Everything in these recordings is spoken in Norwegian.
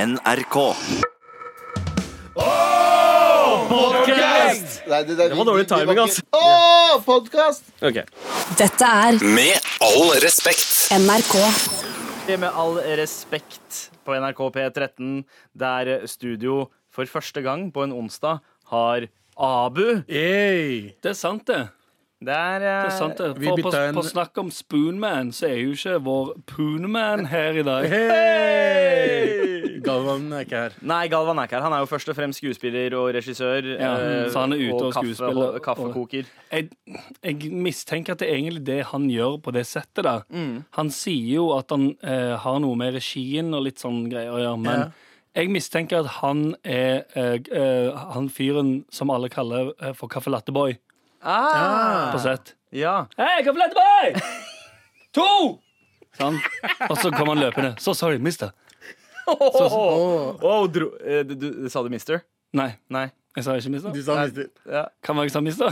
NRK. Nei, det, det, var dårlig timing, altså. Åh, podcast! Ok. Dette er Med all respekt. NRK. Med all respekt på NRK P13, der studio for første gang på en onsdag har Abu. Hey. Det er sant, det. Det er, eh, det, er sant, det. Vi For på, bytta en- på snakk om Spoonman, så er jo ikke vår Poonman her i dag. Hey. Galvan er ikke her. Nei, Galvan er ikke her. Han er jo først og fremst skuespiller og regissør. Ja, eh, så han er ute og skuespiller. og kaffekoker. Jeg, jeg mistenker at det er egentlig det han gjør på det settet der. Mm. Han sier jo at han eh, har noe med regien og litt sånn greier å gjøre, men Ja. jeg mistenker at han er eh, eh, han fyren som alle kaller eh, for Caffè Latte Boy Ah, på sett. ja. Hei, Caffè Latte Boy! to! Sånn. Og så kommer han løpende. So sorry, mister. Wow, dro, eh, du, du, sa du mister? Nei, Nei. jeg sa ikke mister. Du sa mister. Kan være jeg sa mister.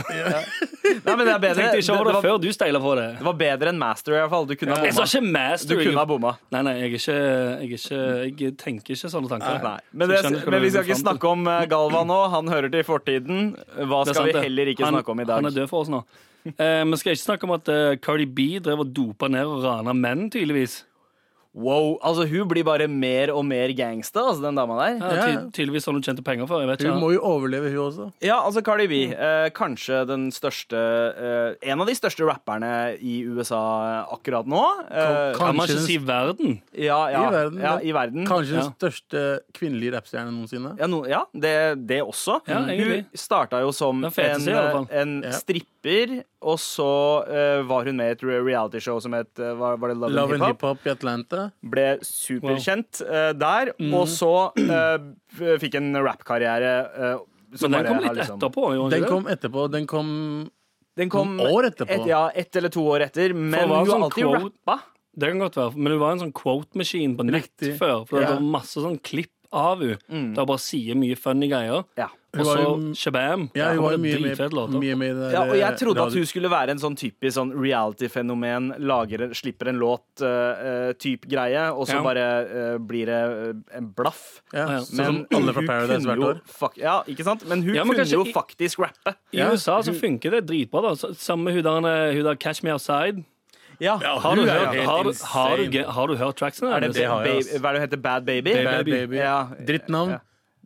Nei, men det er bedre. Tenkte ikke over det, det, var, før du steila på det. det var bedre enn master, i hvert fall. Du kunne ha Jeg sa bomma. ikke Du master. kunne ha bomma. Nei, nei, jeg, er ikke, jeg, er ikke, jeg tenker ikke sånne tanker. Nei. Men, Så det, jeg men skjønner hva du vi skal vil ikke fram til. snakke om eh, Galvan nå. Han hører til fortiden. Hva Det er skal sant, vi det. heller ikke han, snakke om i dag? Han er død for oss nå. Eh, Vi skal ikke snakke om at eh, Cardi B drev og dopa ned og rana menn, tydeligvis. Wow, altså Hun blir bare mer og mer gangsta, altså, den dama der. Ja, Ja. ty tydeligvis sånn hun tjente penger for. Jeg vet Hun ikke. må jo overleve, hun også. Ja, altså Cardi B. Eh, kanskje den største eh, En av de største rapperne i USA akkurat nå. Eh, Kan man Kanskje ikke den- si verden? ja, ja, I verden, Ja, da. i verden. Kanskje den Ja. største kvinnelige rappstjernen noensinne. Ja, no, ja det, det også. Ja, hun egentlig. starta jo som Den en, eh, feteste i alle fall. en Ja. stripper, og så eh, var hun med i et realityshow som het eh, var, var det Love, Love and Hip Hop. hiphop i Atlanta. ble superkjent eh, der, Mm. og så eh, fikk en rappkarriere. Uh, Men den kom litt etterpå. gjorde ikke Den det? kom etterpå. Den kom Den kom Noen år etterpå. Et, ja, ett eller to år etter, men For hva hun har sånn alltid quote- rappa. Det kan godt være, men hun var en sånn quote-maskin på nett Riktig. før. For Ja. Mm. det var masse sånn klipp av hun der hun bare sier mye funny greier. Ja. Hun Og var så jo- shabam. Ja, hun Da var jo kommer mye det med, dritfete låter. mye med i det Ja, der, og jeg trodde eh, at hun skulle være en sånn typisk sånn reality-fenomen, lager, slipper en låt eh, eh, typ greie, og så Ja. bare eh, blir det eh, en blaff. radio- Ja, ja, Sånn som alle fra hun Paradise kunne hvert jo år. fak- ja, ikke sant? Men hun Ja, men kunne kanskje jo i- faktisk rappe. I Ja, USA så funker det dritbra. da Så- Samme hun der, eh, hun der Catch Me Outside. Ja, Har du, hun er jo hørt, helt har, du- insane. har, du, ge- har du hørt tracksene? er det, hennes? har jeg, ass. baby, hva er det hun heter? Bad Baby? Bad Bad Baby. baby. Ja. Drittnavn. Ja.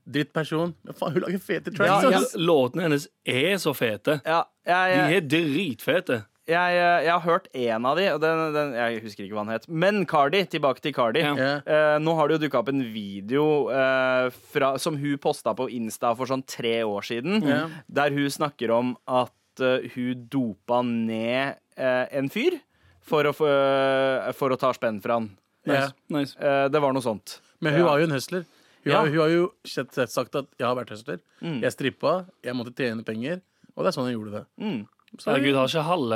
Drittperson. Men faen, hun lager fete Ja, tracks. ja. ass. Låtene hennes er så fete. Ja, jeg, De jeg, er dritfete. jeg, eh, jeg har hørt en av de, og den, den, jeg husker ikke hva han het. Men Cardi, tilbake til Cardi. Ja. Ja. Eh, nå har det jo dukka opp en video eh, fra, som hun posta på Insta for sånn tre år siden, Ja. der hun snakker om at eh, hun dopa ned eh, en fyr for å, få, eh, for å ta spenn fra han. Ja. Nice. Eh, det var noe sånt. Men hun Ja. var jo en hustler. Hun, Ja. Mm. har, hun har jo sett, sett sagt at 'jeg har vært hustler'. Jeg strippa, jeg måtte tjene penger. Og det er sånn jeg gjorde det. Mm. Så- Herregud, har ikke halve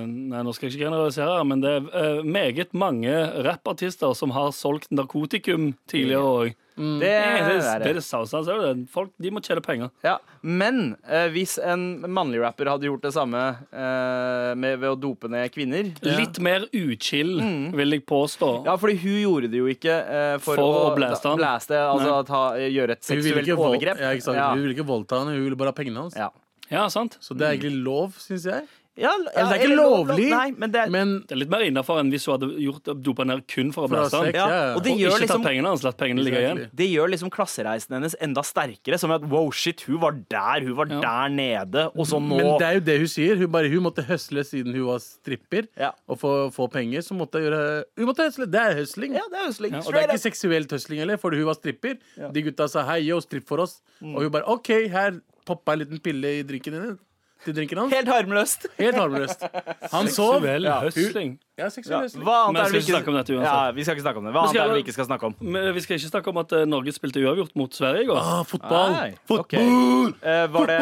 eh, Nei, nå skal jeg ikke generalisere, her, men det er eh, meget mange rappartister som har solgt narkotikum tidligere òg. Det, Mm. Det, er- det, er er- det er det sausen, ser du det? Folk de må tjene penger. Ja, Men eh, hvis en mannlig rapper hadde gjort det samme eh, med, ved å dope ned kvinner Litt mer uchill, vil jeg påstå. Ja, fordi hun gjorde det jo ikke eh, for, For å blaste han. blaste, altså Nei. ta, gjøre et Hun ville seksuelt ikke, vold, overgrep. ja, ikke sant? Ja. Hun ville ikke voldta han, hun ville bare ha pengene hans. Ja. Mm. Ja, sant? Så det er egentlig lov, syns jeg. Ja, Eller Altså, det er ikke lovlig, Nei, men det er, Men Det er litt mer innafor enn hvis hun hadde gjort dopa ned kun for å For å ha blæse han. sex, ja. ja. Og Og det gjør, ikke liksom, tatt pengene hans, latt pengene ligge igjen. Exactly. det gjør liksom klassereisen hennes enda sterkere. Som at wow, shit, hun var der, hun var Ja. der nede, og så nå Men det er jo det hun sier. Hun, bare, hun måtte høsle siden hun var stripper. Ja. Og for å få penger så måtte hun gjøre Hun måtte høsle! Det er høsling. Ja, det er jo slik. og det er Straight ikke seksuelt høsling heller, fordi hun var stripper. De gutta sa 'hei, yo, stripp for oss'. Mm. Og hun bare 'OK, her poppa en liten pille i drinken din'. Til drinken up. hans. Helt harmløst. Helt harmløst. Han sov. Seksuell høsling. Ja, Ja. seksuell høsling. Hva Men annet er det vi jeg skal ikke snakke om dette ikke uansett. Ja, vi skal ikke snakke om det. Hva Men annet er skal det jeg- vi ikke skal snakke om? Men vi skal ikke snakke om at eh, Norge spilte uavgjort mot Sverige i går. Ah, fotball. Nei, fotball. ok. Eh, var det,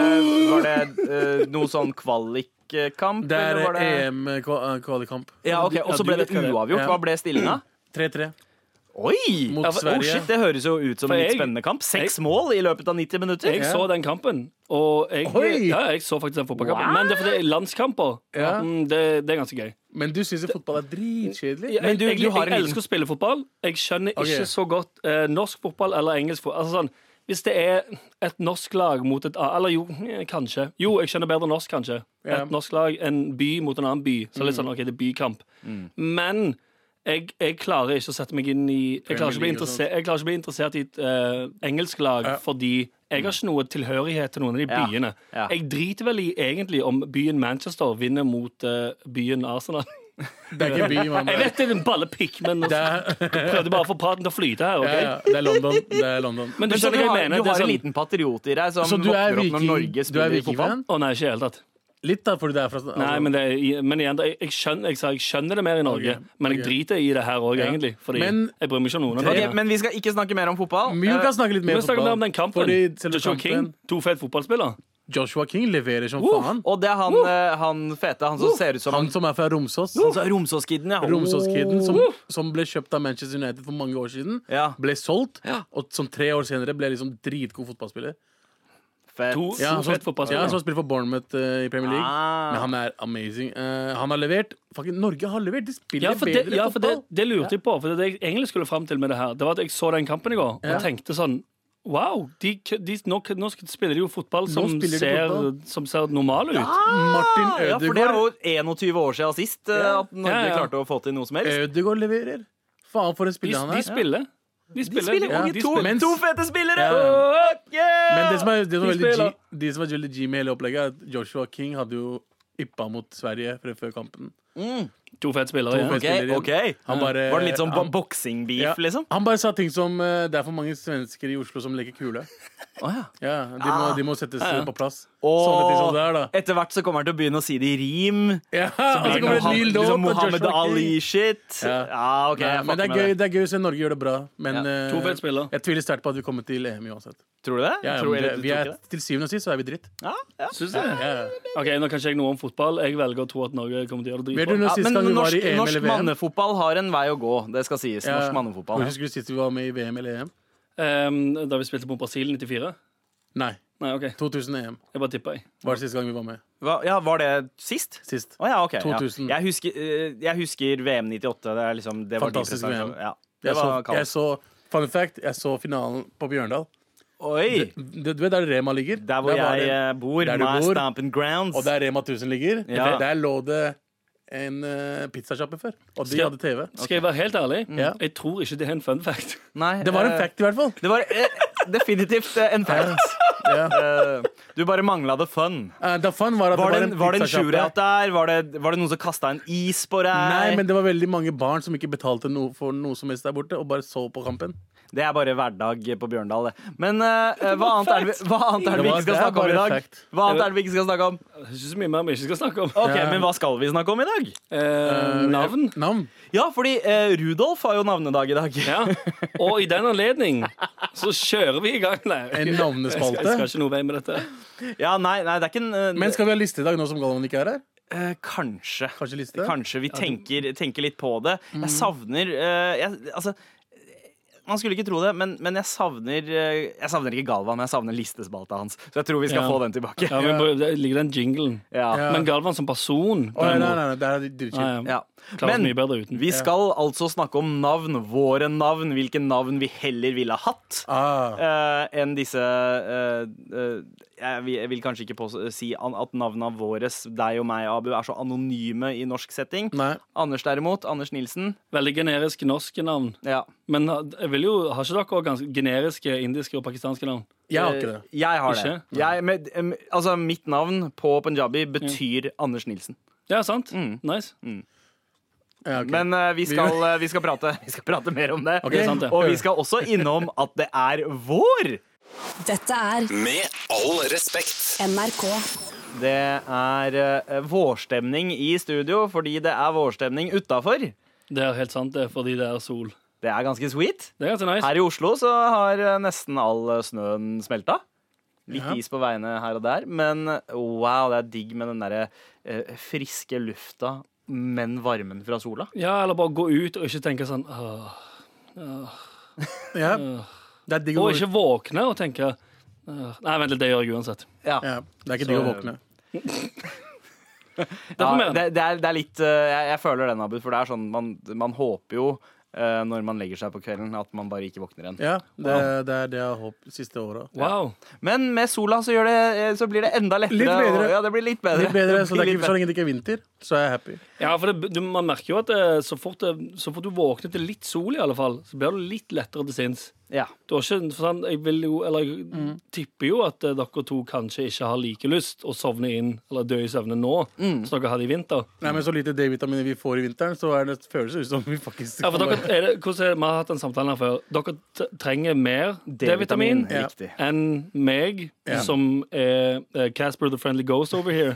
var det eh, noe sånn kvalikkamp? Det er eller var EM-kvalikamp. Ja, ok, Og så ble det Ja, du vet hva det er. uavgjort. Ja. Hva ble stillinga? 3-3. Oi! Mot Ja, for- Sverige. Oh shit, det høres jo ut som For en litt jeg- spennende kamp. Seks mål i løpet av 90 minutter. Jeg så den kampen, og jeg, Oi! ja, jeg så faktisk den fotballkampen. Men det er fordi landskamper Ja. mm, det, det er ganske gøy. Men du syns jo fotball er dritkjedelig? Jeg, Men du- jeg, du har en jeg liten- elsker å spille fotball. Jeg skjønner Ok. ikke så godt eh, norsk fotball eller engelsk fotball. Altså, sånn, hvis det er et norsk lag mot et annet Eller jo, eh, kanskje. Jo, jeg skjønner bedre norsk, kanskje. Ja. Et norsk lag, en by mot en annen by. Så Mm. litt sånn, ok, det er bykamp. Men jeg, jeg klarer ikke å sette meg inn i Jeg klarer ikke å bli League og interessert, jeg klarer ikke å bli interessert i et eh, engelsk lag fordi jeg har ikke noe tilhørighet til noen av de Mm. Ja. byene. Ja. Jeg driter vel i egentlig om byen Manchester vinner mot eh, byen Arsenal. Det er ikke by, mann. Jeg vet det er en ballepikk, men Det er, prøvde bare å få praten til å flyte her. ok? ja, ja, det er London. Det er London. Men du Men så du skjønner hva har, jeg mener. du det har er en sånn, liten patriot i deg som Så du våkner er opp når viking? Norge Du er spiller fotball? vikingfan? Å nei, ikke i det hele tatt. Litt, da, fordi det er fra altså, Nei, men, det, er- men igjen, jeg, jeg, skjønner, jeg, sa jeg skjønner det mer i Norge, Ok, men jeg ok. driter i det her òg, Ja. egentlig. Fordi Men- jeg bryr meg ikke om noen av Ok, det. men vi skal ikke snakke mer om fotball. Vi kan Eh, snakke litt mer Men snakk mer om den kampen. Fordi selve Joshua King, Uh, kampen to fete fotballspillere. Joshua King leverer som faen. og det er han, eh, han fete, han som ser ut som Han som er fra Romsås. Uh, Altså, Han sa Romsåskidden, ja. Romsås-kiden som, som ble kjøpt av Manchester United for mange år siden. Ja. Ble solgt, og som tre år senere ble liksom dritgod fotballspiller. Fett. To, Ja, to han som, fete ja, fotballspillere. han som spiller for Bournemouth eh, i Premier League. Ah. Men han er amazing. Eh, han har levert. Fucking Norge har levert! De spiller Ja, for, bedre det, ja, for det, fotball. det lurte jeg på. For det, det jeg egentlig skulle fram til med det her, Det var at jeg så den kampen i går Ja. og tenkte sånn Wow! De, de, nå, nå spiller de jo fotball som, spiller de ser, fotball. som ser normale ut. Martin Ah, Ja, for det er Ødegaard. jo 21 år siden sist eh, Ja. Eh, at Norge Ja, ja. klarte å få til noe som helst. Ødegaard leverer. Faen, for en De, spiller han de er. spiller. De spiller. Spiller Ja, unge de to, spiller. Mens- to fete spillere! Ja. Fuck yeah! Men det som er, det som er, De veldig, spiller. G, de som er veldig G med hele opplegget, er at Joshua King hadde jo yppa mot Sverige fra før kampen. To fete spillere. To Ja. fete Ok, spiller igjen. ok. Han bare- Var det litt sånn han- boksingbeef, Ja, liksom? Han bare sa ting som eh, Det er for mange svensker i Oslo som leker kule. Å, ja. Ah. Ja, De må, de må settes eh, på plass. Sånne ting som Og det er, sånn da. etter hvert så kommer han til å begynne å si det i rim. Ja, og så kommer det en ny Mohammed- låt liksom av Mohammed Joshua King. Ali-shit. Ja. Ja. OK. Nei, Jeg fucker men det er, med gøy, det. det er gøy å se Norge gjør det bra. Men eh, To fete spillere. jeg tviler sterkt på at vi kommer til EM uansett. Tror du det? Ja, ja, tror, men eller det, du vi tror er, ikke det? til syvende og sist så er vi dritt. Ja, ja. Syns du det? Ja. Ok, Nå kan ikke jeg noe om fotball. Jeg velger å tro at Norge kommer til å gjøre det Vet du dritbra. når Ja, sist men gang vi var i norsk, EM norsk eller VM? mannefotball har en vei å gå. Det skal sies. Ja. Norsk mannefotball Hvor Husker du sist vi var med i VM eller EM? Ehm, da vi spilte mot Brasil 94? Nei, Nei, OK. 2000-EM Jeg bare tippa, jeg. var det siste gang vi var med. Hva- Ja, Var det sist? Sist. Å ja, OK. Ja. 2000. Jeg, husker, eh, jeg husker VM 98. Det er liksom, det var de Fantastisk prestasjonene. VM. Ja. Det Jeg så, var jeg kaldt. så, fun fact, jeg så finalen på Bjørndal. Oi! Du, du vet der Rema ligger? Der hvor var jeg det- eh, bor. Der du My bor. stamping grounds. Og der Rema 1000 ligger, Ja. der lå det en uh, pizzasjappe før. Og de Skal- hadde TV. Skal jeg være helt ærlig? Ja. Jeg tror ikke det er en fun fact. Nei, Det var en eh, fact, i hvert fall. Det var eh, definitivt eh, en fact. Ja. Eh, du bare mangla det fun. Eh, da fun var at Var det, det en- var det en pizzasjappe. sjurat der? Var det, var det noen som kasta en is på deg? Nei, men det var veldig mange barn som ikke betalte noe for noe som helst der borte, og bare så på kampen. Det er bare hverdag på Bjørndal, det. Men eh, hva, annet er det, vi- hva annet er det vi Det var- ikke skal det er snakke om bare i dag? fact. Hva annet er det vi ikke skal snakke om? Det er ikke så mye mer vi ikke skal snakke om. Ok, Ja. Men hva skal vi snakke om i dag? Eh, Ehm, navn? Navn? Ja, fordi eh, Rudolf har jo navnedag i dag. Ja. Og i den anledning så kjører vi i gang. Nei. En Jeg skal, jeg skal navnespalte. ikke noe vei med dette. Ja, nei, nei, det er ikke en eh, Men skal vi ha liste i dag, nå som Galvan ikke er her? eh, Kanskje. Kanskje liste? Kanskje vi tenker, tenker litt på det. Jeg savner eh, jeg, Altså man skulle ikke tro det, men, men jeg savner eh, Jeg savner ikke Galvan, jeg savner listespalta hans. Så jeg tror vi skal Ja. få den tilbake. Ja, men bare- der ligger den jinglen. Ja. Ja. Men Galvan som person Å, nei, nei, nei, nei, det er dritchill. Nei, ja. Ja. Klarer oss mye bedre uten. vi skal altså snakke om navn, våre navn, hvilke navn vi heller ville hatt Ah, eh, enn disse eh, eh, jeg, vil, jeg vil kanskje ikke pås- si an- at navna våre, deg og meg, Abu, er så anonyme i norsk setting. nei. Anders derimot, Anders Nilsen. Veldig generisk norske navn. Ja. Men ha- jeg vil jo, har ikke dere også ganske generiske indiske og pakistanske navn? Jeg har ikke det. Eh, Jeg har Ikke? det. Jeg, med, em, altså, mitt navn på punjabi betyr Anders Nilsen. Ja, sant? Nice. Ja, ok. Men eh, vi, skal, eh, vi, skal prate, vi skal prate mer om det. Ok, sant det. Og vi skal også innom at det er vår! Dette er Med all respekt. NRK. Det er eh, vårstemning i studio fordi det er vårstemning utafor. Det er helt sant, det, er fordi det er sol. Det er ganske sweet. Det er ganske nice. Her i Oslo så har eh, nesten all eh, snøen smelta. Litt Ja. is på veiene her og der, men wow, det er digg med den derre eh, friske lufta, men varmen fra sola. Ja, eller bare gå ut og ikke tenke sånn åh. Ja. Det er digg Og å våkne. ikke våkne og tenke åh. Nei, vent litt, det gjør jeg uansett. Ja. Ja, det er ikke digg å våkne. Ja, Deprimerende. det, det, er, det er litt eh, jeg, jeg føler den, Abu, for det er sånn man, man håper jo eh, når man legger seg på kvelden, at man bare ikke våkner igjen. Ja, det, er- det er det jeg har håpet siste året Wow. Men med sola så, gjør det, eh, så blir det enda lettere. Litt bedre. Og, ja, det blir litt bedre. Litt bedre, så, det er blir ikke, så lenge det ikke er vinter, så er jeg happy. Ja, for det, du, Man merker jo at eh, så fort, det- så fort du våkner til litt sol, i alle fall, så blir du litt lettere til sinns. litt ja. Du har ikke, for sånn, jeg vil jo, eller jeg tipper jo at eh, dere to kanskje ikke har like lyst å sovne inn eller dø i søvne nå som dere hadde i vinter. Nei, men Så lite D-vitaminer vi får i vinteren, så er det føles det ut som vi faktisk Ja, for dere, er det, hvordan er det, Vi har hatt en samtale her før. Dere t- trenger mer D-vitamin D-vitamin. Ja. Riktig. enn meg, Ja. som er eh, Casper the Friendly Ghost over here.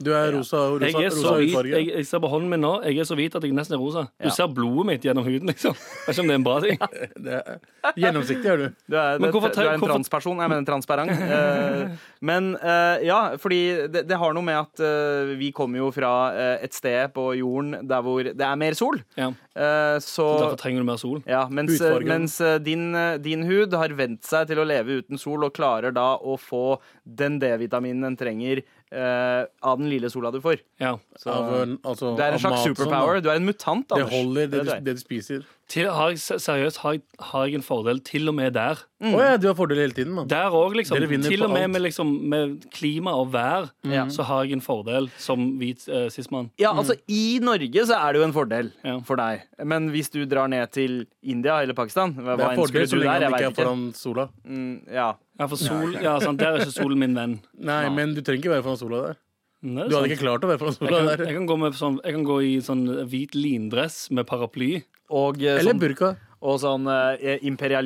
Du er rosa, rosa, Jeg er rosa så hvit, hudfarge. jeg, jeg ser på hånden min nå, jeg er så hvit at jeg nesten er rosa. Du Ja. ser blodet mitt gjennom huden, liksom. Jeg vet ikke om det er en bra ting. Det er- Gjennomsiktig er du. Du er, Men det- hvorfor du er en hvorfor- transperson. Jeg mener transparent. Eh, men eh, ja, fordi det, det har noe med at eh, vi kommer jo fra eh, et sted på jorden der hvor det er mer sol. Ja. Eh, så Derfor trenger du mer sol. ja, mens, Hudfargen. mens eh, din, eh, din hud har vent seg til å leve uten sol og klarer da å få den D-vitaminen den trenger eh, av den lille sola du får. Ja. Så, Av, en- altså, det er av en slags mat og sånn, da. superpower. Du er en mutant, Det Anders. holder, det, er du- du er. det du spiser. Til, har jeg, se- seriøst, har jeg, har jeg en fordel til og med der? Å ja, du har fordel hele tiden, mann. Der òg, liksom. Mm. Dere vinner Til på og med alt. med, liksom, med klima og vær, så har jeg en fordel som hvit uh, sismann. Ja, altså Mm. I Norge så er det jo en fordel Ja. for deg. Men hvis du drar ned til India eller Pakistan hva Det er enn skulle fordel så du lenge der? han Jeg ikke vet er foran sola. Mm, ja. Ja, for sol, ja, sant, der er ikke solen min venn. Nei, men du trenger ikke være foran sola der. Men det er Du hadde sant. ikke klart å være foran jeg kan, sola jeg, der. kan gå med sånn, jeg kan gå i sånn hvit lindress med paraply. Og, eh, Eller sånn- burka. og sånn eh,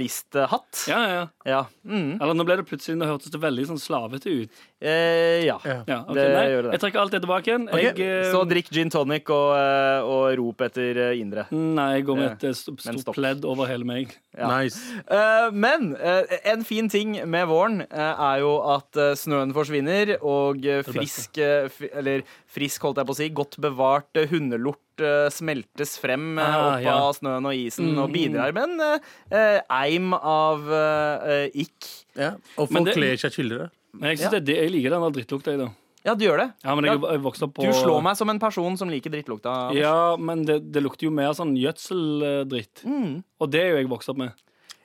imperialisthatt. Ja, ja, ja. Ja. Mm. Eller nå ble det plutselig Nå hørtes det veldig sånn slavete ut. Eh, ja. Ja. Ja, ok, Det nei, gjør det. Jeg trekker alt det tilbake igjen. Ok, Jeg, eh, Så drikk gin tonic og, eh, og rop etter eh, indre. Nei, jeg går med et eh, st- Men stort stopp. pledd over hele meg. Nice. Eh, men eh, en fin ting med våren eh, er jo at eh, snøen forsvinner, og eh, frisk eh, fri, Eller frisk, holdt jeg på å si. Godt bevart eh, hundelort eh, smeltes frem eh, Ah, opp ja. av snøen og isen og bidrar med en eh, eh, eim av eh, eh, ikk. Ja. Og Men folk det- kler seg chillere. Men jeg, synes det, er det- jeg liker den der drittlukta. jeg, da. Ja, du gjør det. Ja, men jeg, jeg vokste opp på Du slår meg som en person som liker drittlukta. Ja, men det, det lukter jo mer sånn gjødseldritt. Mm. Og det er jo jeg vokst opp med.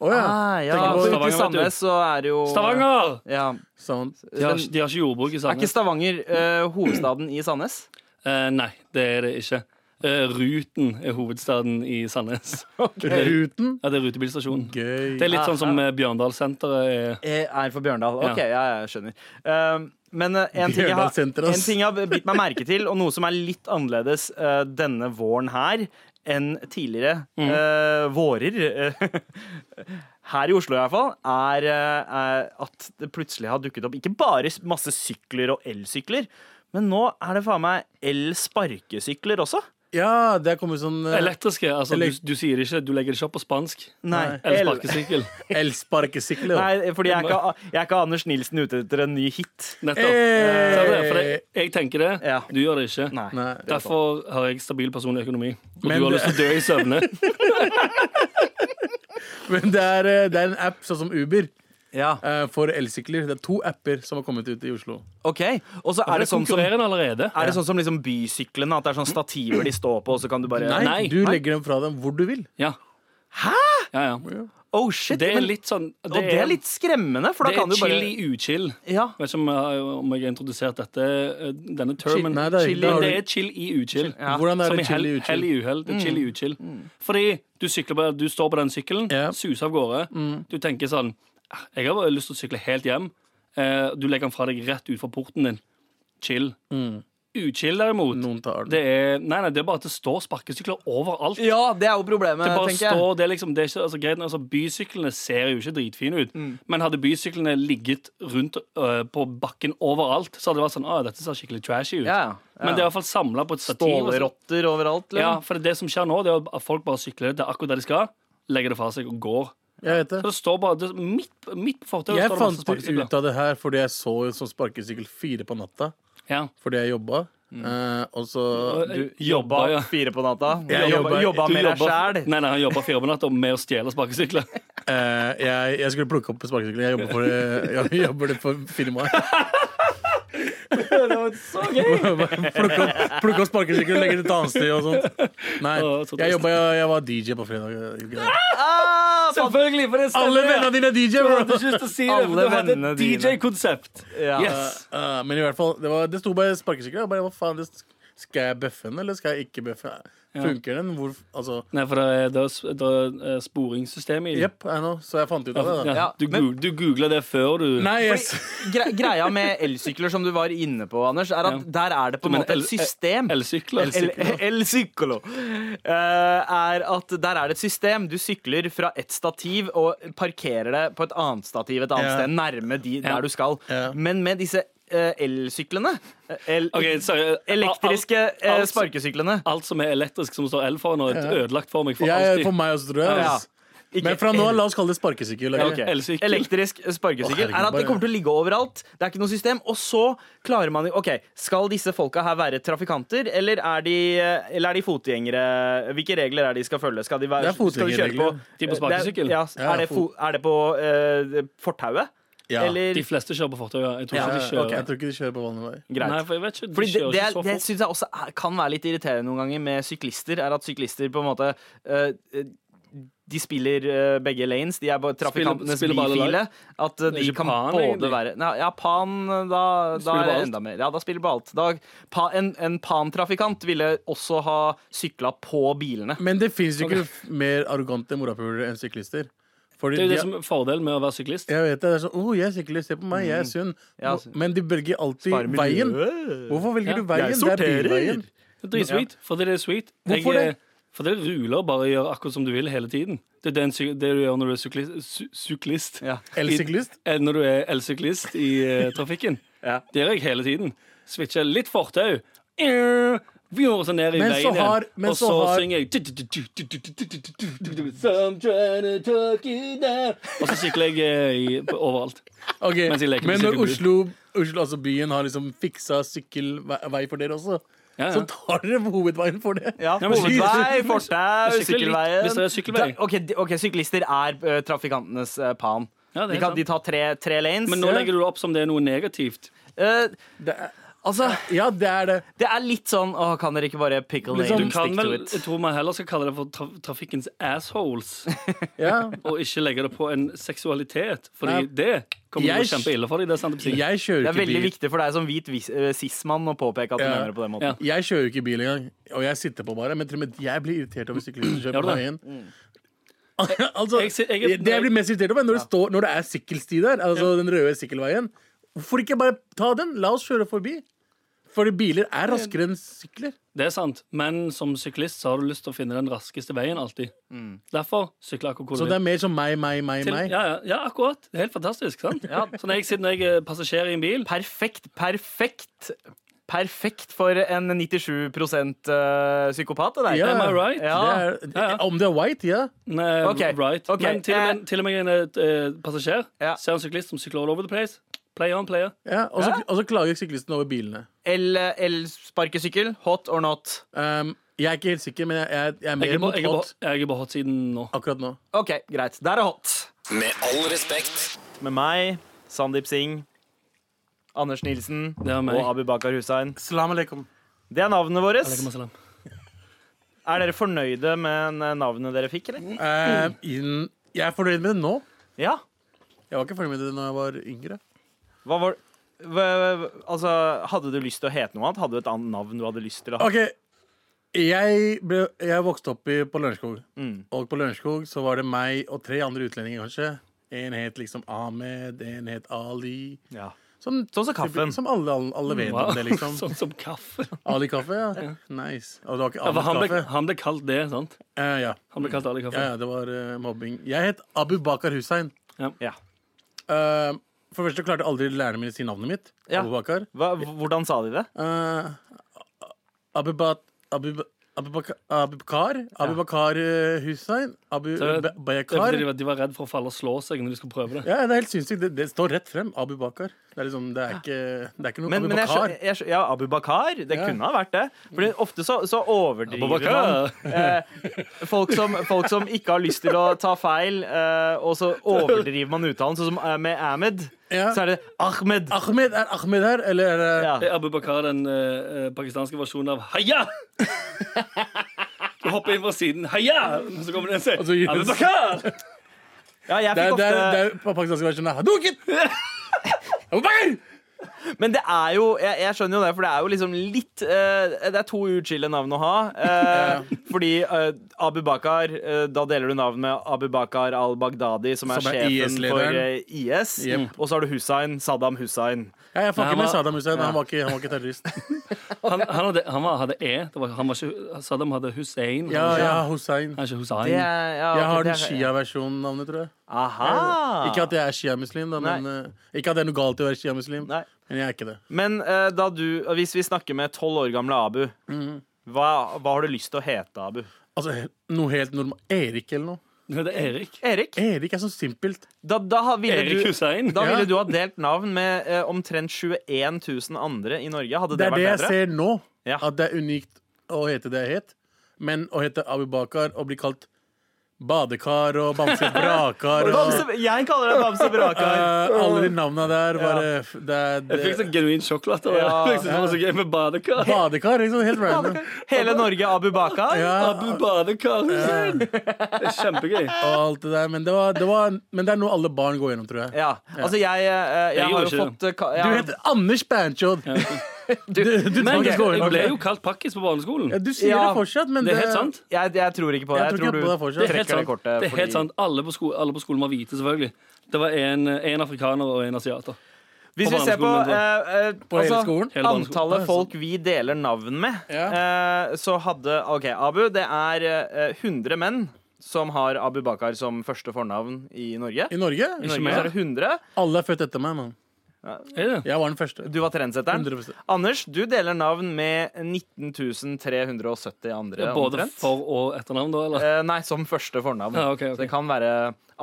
Å ja. Ah, ja. Tenker på- Ute Stavanger, i Sandnes vet du. så er det jo Stavanger! Ja. Sånn. De har, ikke- de har ikke jordbruk Er i ikke Sandnes. Stavanger eh, hovedstaden i Sandnes? Eh, nei, det er det ikke. Eh, Ruten er hovedstaden i Sandnes. Ruten. Ja, Det er rutebilstasjonen. Gøy. Det er litt sånn som eh, Bjørndalssenteret er. Eh, Er for Bjørndal. Ja. Ok, ja, jeg skjønner. Um, men eh, en ting, jeg har, Bjørndalssenter, en ass. ting jeg har bitt meg merke til, og noe som er litt annerledes eh, denne våren her enn tidligere eh, vårer eh, Her i Oslo i hvert fall, er, eh, er at det plutselig har dukket opp ikke bare s- masse sykler og elsykler, men nå er det faen meg el-sparkesykler også. Ja, det er kommet sånn eh, Elektriske. altså Elek- du, du sier det ikke, du legger det ikke opp på spansk. Eh, Nei, Eller el- sparkesykkel. elsparkesykler. da. Nei, fordi jeg er, ikke, jeg er ikke Anders Nilsen ute etter en ny hit. Nettopp. Eh. Så er det, for det, Hey! jeg tenker det, Ja. du gjør det ikke. Nei. Nei. Derfor har jeg stabil personlig økonomi. Og Men du har det- lyst til å dø i søvne. Men det er, eh, det er en app sånn som Uber Ja, eh, for elsykler. Det er to apper som har kommet ut i Oslo. ok. Og så Er er det sånn som konkurrerende allerede? Er det sånn som liksom bysyklene, at det er sånn stativer de står på, og så kan du bare Nei, Eh, Nei. du legger dem fra dem hvor du vil. Ja. Hæ?! Ja, ja. Oh shit! Det er men- litt sånn og det er litt skremmende, for da det kan er du bare chill i uchill. Ja. Vet ikke om jeg, har- eh, om jeg har introdusert dette, eh, denne Chill- termen. nei, det er- Chill i- det har du- det er chill i uchill. Ja. Hvordan er Som i det chill i hell, hell uchill? i uhell. Det er chill i uchill. Fordi du, sykler, på- du står på den sykkelen, Mm. Ja. Mm. suser av gårde. Du tenker sånn "Ah, Jeg har bare lyst til å sykle helt hjem. Eh, Du legger den fra deg rett ut fra porten din. Chill. Uchill, derimot, Mm. Noen tar den. det er, nei, nei, det er bare at det står sparkesykler overalt. Ja, det er jo problemet, Det bare tenker jeg. står, det er liksom, det er ikke, altså, greit, nok, altså, bysyklene ser jo ikke dritfine ut, Mm. men hadde bysyklene ligget rundt øh, på bakken overalt, så hadde det vært sånn, ah, dette ser skikkelig trashy ut. Ja, ja. Men det er i hvert fall samlet på et stativ. og så- Stålerotter overalt. Ja, Liksom. for det, er det som skjer nå, det er at folk bare sykler til akkurat der de skal, legger det fra seg og går. Jeg vet Så det. det står bare, det, midt, midt på fortøyet Jeg står det masse fant ut sparkesykler. av det her fordi jeg så en sånn sparkesykkel fire på natta Ja. fordi jeg jobba. Eh, og så Du Jobba jobba, ja. fire på natta. Jobba, Jeg jobber- jobba Du med deg jobber- sjæl. Nei, nei, han jobber fire på natt med å stjele sparkesykler. eh, jeg, jeg skulle plukke opp sparkesykkelen. Jeg jobber for, jeg jobber for firmaet. Det var så gøy! Plukke opp, plukke opp sparkesykkel og legge det et annet sted og sånt. Nei, Å, så jeg, trist. jobbet, jeg, jeg var DJ på fredag. Ah, Selvfølgelig, for det Alle vennene dine er DJ, Jeg hadde bro! ikke lyst til å si Ah, det, for Alle du hadde vennene et dine. DJ-konsept. Ja. Yes. Uh, men i hvert fall, det, var, det sto bare sparkesykkel. Jeg bare, hva faen, det, skal jeg bøffe den, eller skal jeg ikke bøffe den? Funker den? Hvor, altså, Nei, for det er, det er, s- det er sporingssystemet i det. jepp, I know. Så jeg fant ut av det. Ja, da ja. Du, men- goog- du googla det før du Nei, yes. Gre greia med elsykler, som du var inne på, Anders, er at Ja. der er det på en Men måte el- et system. elsykler? El- Elsyklo. Eh, er at der er det et system. Du sykler fra ett stativ og parkerer det på et annet stativ et annet Ja. sted, nærme de, Ja. der du skal. Ja. Men med disse eh, elsyklene eh, el Ok, sorry. Elektriske eh, alt- sparkesyklene. Alt som er elektrisk som står L foran, er ødelagt for meg for Ja, alltid. for meg også, tror jeg. Ja. ass. Men fra nå av, la oss kalle det sparkesykkel. Ja, ok? ok. elsykkel. Elektrisk sparkesykkel Å, herregud, er at det bare- kommer til å ligge overalt. Det er ikke noe system. Og så klarer man Ok, skal disse folka her være trafikanter, eller er de, eller er de fotgjengere? Hvilke regler er de skal følge? Skal de være, Det er skal de kjøre på fotgjengerregler. De på Det sparkesykkel? er- Ja, Ja, er, det fo, er det på eh, fortauet? Ja. Eller De fleste kjører på fortau. ja. Jeg tror Ja, ikke de Eh, kjører. ok, Jeg tror ikke de kjører på vanlig vei. Greit. Nei, for jeg vet ikke. De Fordi det, kjører det, ikke er- så det fort. syns jeg også er, kan være litt irriterende noen ganger med syklister, er at syklister på en måte eh, eh, de spiller eh, begge lanes. De er bare trafikantenes spiller bare alle bifile. lag. At eh, Det er de ikke kan pan, både egentlig. være Nei, Ja, pan, eh, da, da spiller er det på alt. enda mer. Ja, da spiller på alt. Da, pa, en en pan-trafikant ville også ha sykla på bilene. Men det fins jo ikke mer arrogante morapulere enn syklister. Fordi Det er jo de det er- som er fordelen med å være syklist. jeg vet det, det er sånn, oh, jeg er syklist, se på meg, Mm. jeg er sunn. Ja, Nå- Men de velger alltid veien. Hvorfor velger altså. Ja, du jeg veien? Det er bilveien. sorterer. Det er Dritsweet. Fordi det er sweet. Jeg, Hvorfor det? Fordi det ruler og bare gjør akkurat som du vil hele tiden. Det er den, sy- det du gjør når du er syklist, sy syklist. Ja. Elsyklist? I, eh, når du er elsyklist i eh, trafikken. Ja. Det gjør jeg hele tiden. Switcher litt fortau. Eh, Vi gjør sånn ned i Men så veien, igjen. har- men og så så, har- synger jeg Some trying to talk you down. Og så sykler jeg eh, i, på- overalt. Ok, Mens de leker Men med når sykkelbud. Oslo, Oslo, altså byen, har liksom fiksa sykkelvei for dere også, Ja, ja. så tar dere hovedveien for det. Ja, men sykler- hovedvei, fortau, sykler litt sykkelveien. hvis det er sykkelvei. Da- ok, de- ok, syklister er ø, trafikantenes ø, pan. Ja, det er de, kan, sant. de tar tre, tre lanes. Men nå legger du det opp som det er noe negativt. Ø, Det er, Eh, altså, ja, det er det. det er litt sånn Å, kan dere ikke bare pick a lane? Liksom- Du kan stick vel, to jeg it? tror man heller skal kalle det for traf trafikkens assholes. Ja. og ikke legge det på en seksualitet. Fordi Nei. det kommer til å Jeg bli kjempeille for deg. Det er sant, jeg, Jeg kjører Det er ikke veldig bil. viktig for deg som hvit vis- ø, cis-mann å påpeke at du Ja. mener det på den måten. Ja. Jeg kjører jo ikke bil engang, og jeg sitter på bare. Men til og med jeg blir irritert over syklister som kjører Gjør du på veien. altså, Jeg- jeg- jeg- det jeg blir mest irritert over, er når, det står, når det er sykkelsti der, altså den røde sykkelveien. Hvorfor ikke bare ta den? La oss kjøre forbi. Fordi biler er raskere enn sykler. Det er sant. Men som syklist så har du lyst til å finne den raskeste veien alltid. Derfor sykler jeg akkurat Så hvor du det er mer som meg, meg, meg, vil. meg. Ja, ja, ja, akkurat. Det er helt fantastisk. sant? Så når jeg sitter når jeg er passasjer i en bil Perfekt, perfekt. Perfekt for en 97 ø, psykopat. Det der. Ja. Am I right? Ja. Det er, Ja, ja. Om det er white, ja. Nei, Ok, right. ok, Men til og med, til og med en eh, passasjer Ja. ser en syklist som sykler all over the place. Play on, player. ja. Og så og så klager syklisten over bilene. El- El-sparkesykkel, hot or not? Um, jeg er ikke helt sikker, men jeg, jeg, jeg er Jeg mer er på, mot jeg er på, hot jeg er på hot siden nå. akkurat nå. OK, greit. Der er hot. Med all respekt. med meg, Sandeep Singh, Anders Nilsen Det er meg. og Abu Bakar Hussein. Salam alaikum. Det er navnene våre. Alaikum assalam. Er dere fornøyde med eh, navnet dere fikk, Mm. eller? Eh, jeg er fornøyd med det nå. Ja. Jeg var ikke fornøyd med det da jeg var yngre. Hva var hva- Altså, hadde du lyst til å hete noe annet? Hadde du et annet navn du hadde lyst til å ha? Ok, jeg, ble, jeg vokste opp i, på Lørenskog. Og på Lørenskog så var det meg og tre andre utlendinger, kanskje. En het liksom Ahmed, en het Ali. Ja. Som, Sånn som kaffen. Som alle, alle, alle vet Wow. om det, liksom. Sånn som kaffe. Ali kaffe, ja. Nice. Og det var ikke Ja, for han, Ahmed ble, kaffe. han ble kalt det, sant? Eh, ja. Han ble kalt Ali Ja, Kaffe. ja, det var eh, mobbing. Jeg het Abu Bakar Hussein. ja. Eh, for det første klarte aldri lærerne mine å si navnet mitt. Ja. Abu Bakar. Hva, hvordan sa de det? Eh, Abu Bat... Abu Ba- Abu Bakar Abu Bakar, Abu Bakar eh, Hussein? Abu Så det- Ba- Det er Bayakar? fordi de var, de var redd for å falle og slå seg når de skulle prøve det. Ja, det er helt sinnssykt. Det, det står rett frem. Abu Bakar. Det er liksom, det er ikke, det er ikke noe Men, Abu men jeg, Bakar. skjø- jeg, skjø- ja, Abu Bakar. Det Ja. kunne ha vært det. Fordi ofte så, så overdriver Abu Bakar. man eh, folk, som, folk som ikke har lyst til å ta feil, eh, og så overdriver man uttalen, sånn som eh, med Ahmed. Ja. så er det Ahmed. Ahmed, er Ahmed her, eller er det Ja. Er Abu Bakar den eh, eh, pakistanske versjonen av Haya? Du hopper inn fra siden. Haya! Og så kommer det en se. Og så gjør- Abu Bakar! Ja, jeg Det er, fikk det er, det ofte er på pakistanske versjonen av Hadouken! Abu Bakr! Men det er jo jeg, jeg skjønner jo det, for det er jo liksom litt eh, Det er to utskille navn å ha. eh, Fordi eh, Abu Bakar eh, Da deler du navn med Abu Bakar al-Baghdadi, som er, Som er sjefen IS-lederen. for eh, IS. Jep. Og så har du Hussein. Saddam Hussein. Ja, jeg Nei, han fucker med var- Saddam Hussein. Han, var ikke, han var ikke terrorist. Han, han, hadde, han var, hadde E. Det var, han var ikke, Saddam hadde Hussein. Ja, han, var ikke- ja, Hussein. han er ikke Hussein. Det er- ja, Jeg ok, har det den er- Ah. shia-versjonen-navnet, tror jeg. Aha. Ikke at jeg er shia-muslim, da, men eh, ikke at det er noe galt i å være shia-muslim. Nei. Men jeg er ikke det. Men eh, da du, hvis vi snakker med tolv år gamle Abu, Mhm. hva, hva har du lyst til å hete, Abu? Altså, he- noe helt normalt Erik eller noe. Han heter Erik. Erik? Erik er så simpelt. Da, da ha- ville Erik du, Hussein. da Ja. ville du ha delt navn med eh, omtrent 21 000 andre i Norge. Hadde Det det, er det jeg vært bedre? ser nå. Ja. At det er unikt å hete det jeg het. Men å hete Abu Bakar og bli kalt badekar og bamse brakar og Bamse, jeg kaller deg Bamse Brakar. Eh, alle de navna der bare f- det, er- Jeg fikk det, sånn genuin sjokolade. Ja. Ja. Jeg synes det var så gøy med badekar. Badekar, liksom. Helt random. Hele Norge Abu Bakar. Ja, Abu Badekar Hussein. Det er kjempegøy. og alt det der. Men det, var, det var, men det er noe alle barn går gjennom, tror jeg. Ja, altså jeg, eh, jeg Jeg har jo gjorde ikke fått eh, ka- jeg, Du har- heter Anders Banchod. Du, du, du, Men faktisk går jeg gjennom ble det. jo kalt pakkis på barneskolen. ja, du sier Ja, det fortsatt, men det er helt sant. jeg, jeg tror ikke på det. Jeg tror ikke du på det fortsatt. Det er helt trekker det sant. kortet. Det er helt fordi- sant. Alle, på sko alle på skolen var hvite, selvfølgelig. Det var en, en afrikaner og en asiater. Hvis På vi ser på, barneskolen, eh, eh, På hele skolen? Hele barneskolen. antallet folk vi deler navn med, eh, så hadde OK, Abu, det er eh, 100 menn som har Abu Bakar som første fornavn i Norge. I Norge? I Norge så er det 100. Alle er født etter meg, mann. Er det? Jeg var den første. Du var trendsetteren. 100%. Anders, du deler navn med 19.370 andre. Både omtrent. for- og etternavn, da? eller? Eh, nei, som første fornavn. Ja, ok, ok. Så det kan være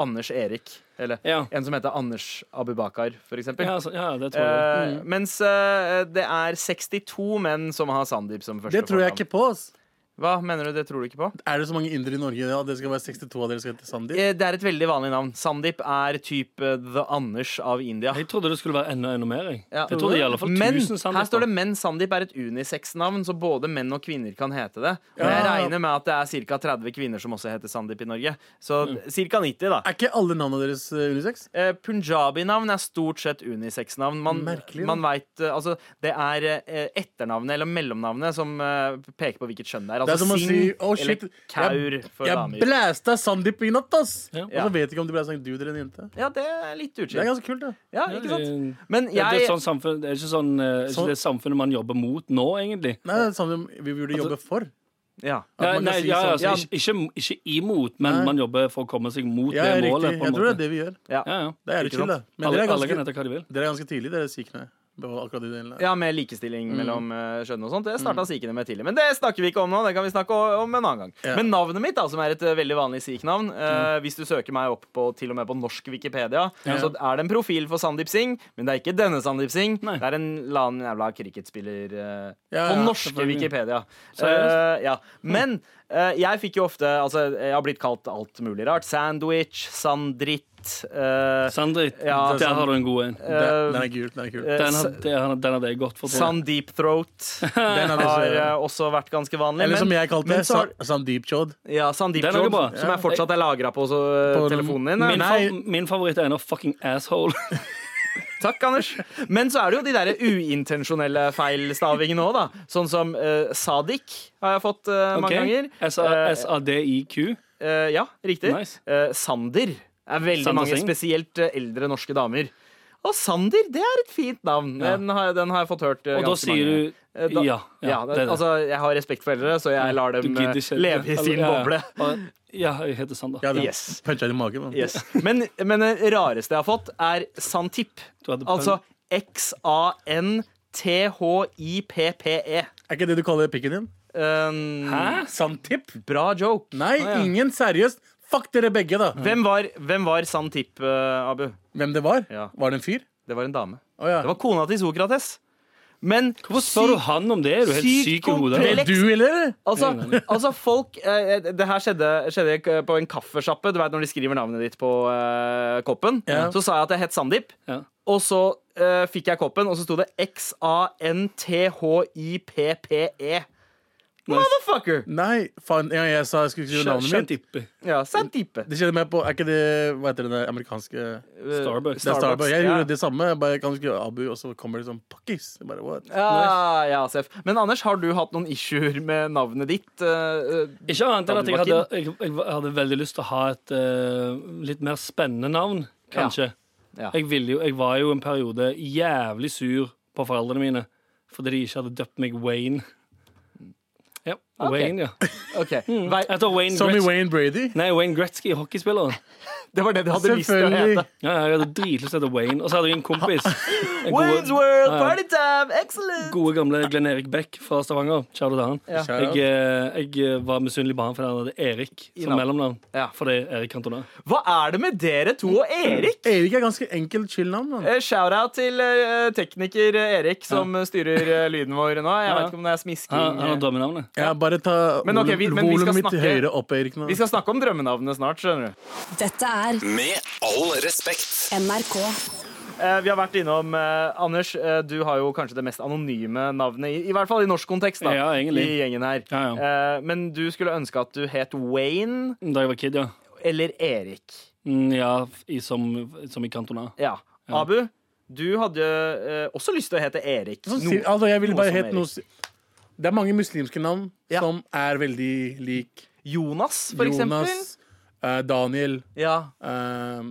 Anders Erik. Eller Ja. en som heter Anders Abu Bakar, for Eh, eksempel. Ja, altså, ja det tror jeg. Eh, Mens eh, det er 62 menn som har Sandeep som første Det tror jeg fornavn. ikke på. ass. Hva mener du det tror du ikke på? Er det så mange indere i Norge ja, det skal være 62 av dere skal hete Sandeep? Eh, Det er et veldig vanlig navn. Sandeep er type eh, The Anders av India. Jeg trodde det skulle være enda enda mer. Jeg, Ja. jeg trodde i alle fall men, 1000 Her står det sannheter. men Sandeep er et unisex-navn, så både menn og kvinner kan hete det. Og jeg Ja. regner med at det er ca. 30 kvinner som også heter Sandeep i Norge. Så ca. 90, da. Er ikke alle navnene deres eh, unisex? Eh, Punjabi-navn er stort sett unisex-navn. Man, Merkelig, da. man vet, eh, altså, det er eh, etternavnet eller mellomnavnet som eh, peker på hvilket kjønn det er. Det er Altså som å Singh si, «Å, shit, eller Kaur for Jeg damer. blæsta Sandeep i natt, ass! Ja. Og så vet jeg ikke om det ble en dude eller en jente. Ja, det er litt Det er utskilt. ganske kult, da. Ja, ikke sant? Det- Men Det er, jeg sånn samfunn, det er ikke sånn, eh, er ikke Sånn- det samfunnet man jobber mot nå, egentlig. Nei, det er samme vi burde Altså, jobbe for. ja. At Ja, man kan nei, si ja, sånn- altså, ikke, ikke, ikke imot, men Nei. man jobber for å komme seg mot Ja, det riktig. målet. På Jeg en tror det er måte. det vi gjør. Ja. Ja, ja. Det er Ikke litt chill, da. sant? Men dere Alle, er alle kan ganske, hete hva de vil. dere er ganske tidlig, dere sikhene. På akkurat de delene. ja, med likestilling Mm. mellom eh, kjønn og sånt. Det starta sikhene med tidlig. Men det snakker vi ikke om nå. Det kan vi snakke o- om en annen gang. Ja. Mm. Men navnet mitt, da, som er et eh, veldig vanlig sikh-navn eh, Hvis du søker meg opp på til og med på norsk Wikipedia, så er det en profil for Sandeep Singh, men det er ikke denne Sandeep Singh. Nei. Det er en eller annen jævla cricketspiller eh, Ja, på ja, Hm. norske selvfølgelig. Wikipedia. Seriøst? Eh, ja. Men eh, jeg fikk jo ofte Altså, jeg har blitt kalt alt mulig rart. Sandwich, sandritt eh, Sandrit, Ja, der sant. har du en god en. Den, den er gul. Den er kul. eh, Den sa- hadde, den hadde jeg gått for. tror jeg. Sandeep Throat. Den er har dessverre- eh, også vært ganske vanlig. Eller som jeg kalte men det, så har- Sa- Sandeep Chod. ja, Sandeep Det er noe Jod, bra. som Ja. er fortsatt er lagra på, så, eh, På- telefonen din. Min, eh. Nei. fa min favoritt er en av fucking asshole. Takk, Anders. Men så er det jo de derre uintensjonelle feilstavingene òg, da. Sånn som eh, Sadik har jeg fått eh, mange Okay? ganger. Eh, S-A-D-I-Q. eh, ja, riktig. Nice. Eh, Sander er veldig Sander mange, Singh. spesielt eh, eldre norske damer. Og Sander, det er et fint navn. Ja. Den, har, den har jeg fått hørt eh, Og da ganske mange sier ganger. du Eh, da- ja. Ja, det er det. altså, jeg har respekt for eldre, så jeg lar Du dem gidder eh, ikke. leve i sin Ja, ja. boble. Ja, jeg heter Sander. Ja, den Yes. puncha i magen. mann. Yes. Men, men det rareste jeg har fått, er Santip. Du hadde pøl- Altså X-A-N-T-H-I-P-P-E. Er ikke det du kaller pikken din? Um, Hæ? Santip? bra joke. Nei, ja. ingen. Seriøst. Fuck dere begge, da. Hvem var, hvem var Santip, eh, Abu? Hvem det var? Ja. Var det en fyr? Det var en dame. Å ja. Det var kona til Sokrates. Men Hvorfor spør du han om det? Er du helt Sykt syk i hodet? komplett. Du, eller? Altså, altså folk eh, Det her skjedde, skjedde k- på en kaffesjappe. Du vet når de skriver navnet ditt på eh, koppen. Ja. Så sa jeg at jeg het Sandeep. Ja. Og så eh, fikk jeg koppen, og så sto det X-A-N-T-H-I-P-P-E. Motherfucker! Nei, faen, en gang jeg sa jeg skulle skrive navnet mitt Shantippe. Ja, Santipe. Det kjenner meg på, Er ikke det hva heter det, det amerikanske det Starbucks. er Starbucks. Jeg Eh, ja. gjorde det samme. Jeg bare kan skrive Abu, og så kommer det sånn pakkis. Jeg Bare, what? Ja, ja, Seff. Men Anders, har du hatt noen issuer med navnet ditt? Eh, eh, Ikke annet enn Da at du jeg var hadde, jeg, jeg hadde veldig lyst til å ha et eh, litt mer spennende navn, kanskje. Ja. Jeg, ville jo, jeg var jo en periode jævlig sur på foreldrene mine fordi de ikke hadde døpt meg Wayne. Ja, Wayne, ja. OK. Hmm. Vei, Etter Wayne Som i Gretzky. Wayne Brady. Nei, Wayne Gretzky, hockeyspilleren. det var det du hadde lyst til å Selvfølgelig. hete. Ja, jeg hadde dritlyst til å hete Wayne. Og så hadde jeg en kompis. En Wayne's gode, World, Ja. party time, excellent! gode gamle Glenn Erik Beck fra Stavanger. Kjære til han. Ja. Shout out. Jeg, eh, jeg var misunnelig på han fordi han hadde Erik I som navn. mellomnavn. Ja. Fordi Erik Cantona. Hva er det med dere to og Erik? Erik er ganske enkelt chill navn. da. Eh, Shout-out til eh, tekniker Erik, som styrer eh, lyden vår nå. Jeg Ja. vet ikke om det er smisking. Han, han har drømmenavnet. Ja, bare ta Men ok, vi- men vi skal volumet mitt snakke- høyere opp, Erik. Nå. eh. Vi skal snakke om drømmenavnene snart. skjønner du Dette er Med all respekt. NRK. eh, Vi har vært innom eh, Anders, eh, du har jo kanskje det mest anonyme navnet, i, i hvert fall i norsk kontekst, da, Ja, egentlig. i gjengen her. Ja, Eh, men du skulle ønske at du het Wayne Da jeg var kid, ja. eller Erik. Mm, ja i, som, som i Cantona. Ja. Abu, du hadde eh, også lyst til å hete Erik. Sånn, No- si- altså, jeg vil noe bare som hete Erik. noe si- Det er mange muslimske navn Ja. som er veldig lik Jonas, for eksempel. Jonas, eh, Daniel Ja, eh,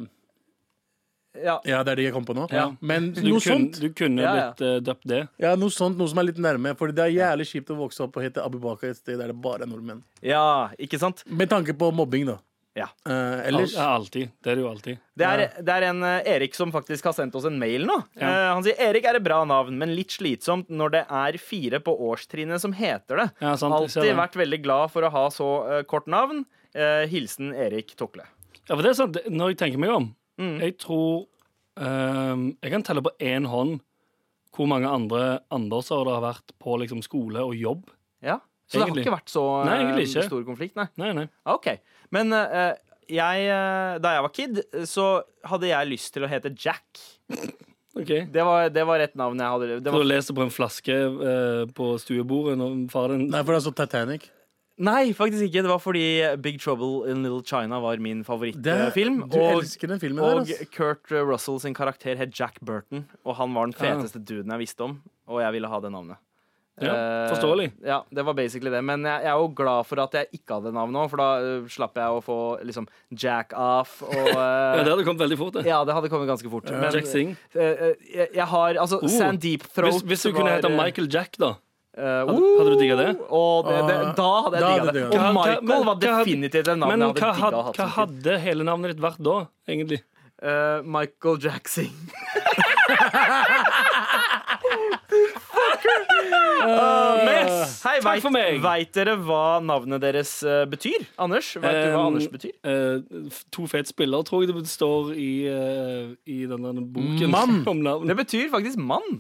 ja. Ja, det er de jeg kom på nå. Ja. Men Du noe kunne, sånt. du kunne Ja, ja. blitt eh, døpt det. Ja, noe sånt, noe som er litt nærme. Fordi det er jævlig kjipt å vokse opp og hete Abubakar et sted der det bare er nordmenn. ja ikke sant? Med tanke på mobbing, da. Ja. Eh, Al ellers ja, alltid. Det er det jo alltid. Det er, det er en eh, Erik som faktisk har sendt oss en mail nå. Eh, han sier Erik er et bra navn, men litt slitsomt når det er fire på årstrinnet som heter det. Ja, sant, jeg ser Alltid det. vært veldig glad for å ha så eh, kort navn. Eh, hilsen Erik Tokle. Ja, for det er sant. Det- Når jeg tenker meg om, jeg tror ehm, Jeg kan telle på én hånd hvor mange andre Anderser det har vært på liksom, skole og jobb. Ja. Så det har Egentlig. ikke vært så eh, Nei, egentlig ikke. stor konflikt, nei. Nei, nei. Ah, OK. Men eh, jeg, eh, da jeg var kid, eh, så hadde jeg lyst til å hete Jack. OK. Det var, det var et navn jeg hadde. Det Når var, du leser på en flaske eh, på stuebordet når far din Nei, for det er sånn Titanic. nei, faktisk ikke. Det var fordi Big Trouble in Little China var min Det, favorittfilm. du og- elsker den filmen Og der, ass. Kurt eh, Russell sin karakter het Jack Burton, og han var den feteste duden jeg visste om, og jeg ville ha det navnet. Ja, Eh, forståelig. ja, det var basically det. Men jeg, jeg er jo glad for at jeg ikke hadde navnet òg, for da eh, slapp jeg å få liksom Jack off og eh, Ja, det hadde kommet veldig fort, det. ja, det hadde kommet ganske fort. Men, Jack Singh. eh, eh, jeg, jeg har altså Oh, Sand Deep Throat eh, Hvis, hvis du kunne hete Michael Jack, da. hadde hadde du digget det? Og oh, det, det, da hadde Ah. Da jeg hadde digga det. du digget det. Og Hva- hva- Michael var men hva hadde- definitivt et navn Men jeg hva hadde digga å ha hadde, hva som kid. hadde hele navnet ditt vært da, egentlig? Eh, Michael Jackson. Yes! Hei, Takk for meg. Veit dere hva navnet deres eh, betyr? Anders? Vet du hva Um, Anders betyr? eh, f- to fete spillere, tror jeg det står i, eh, i den der boken Mann. om Det navn. betyr faktisk mann.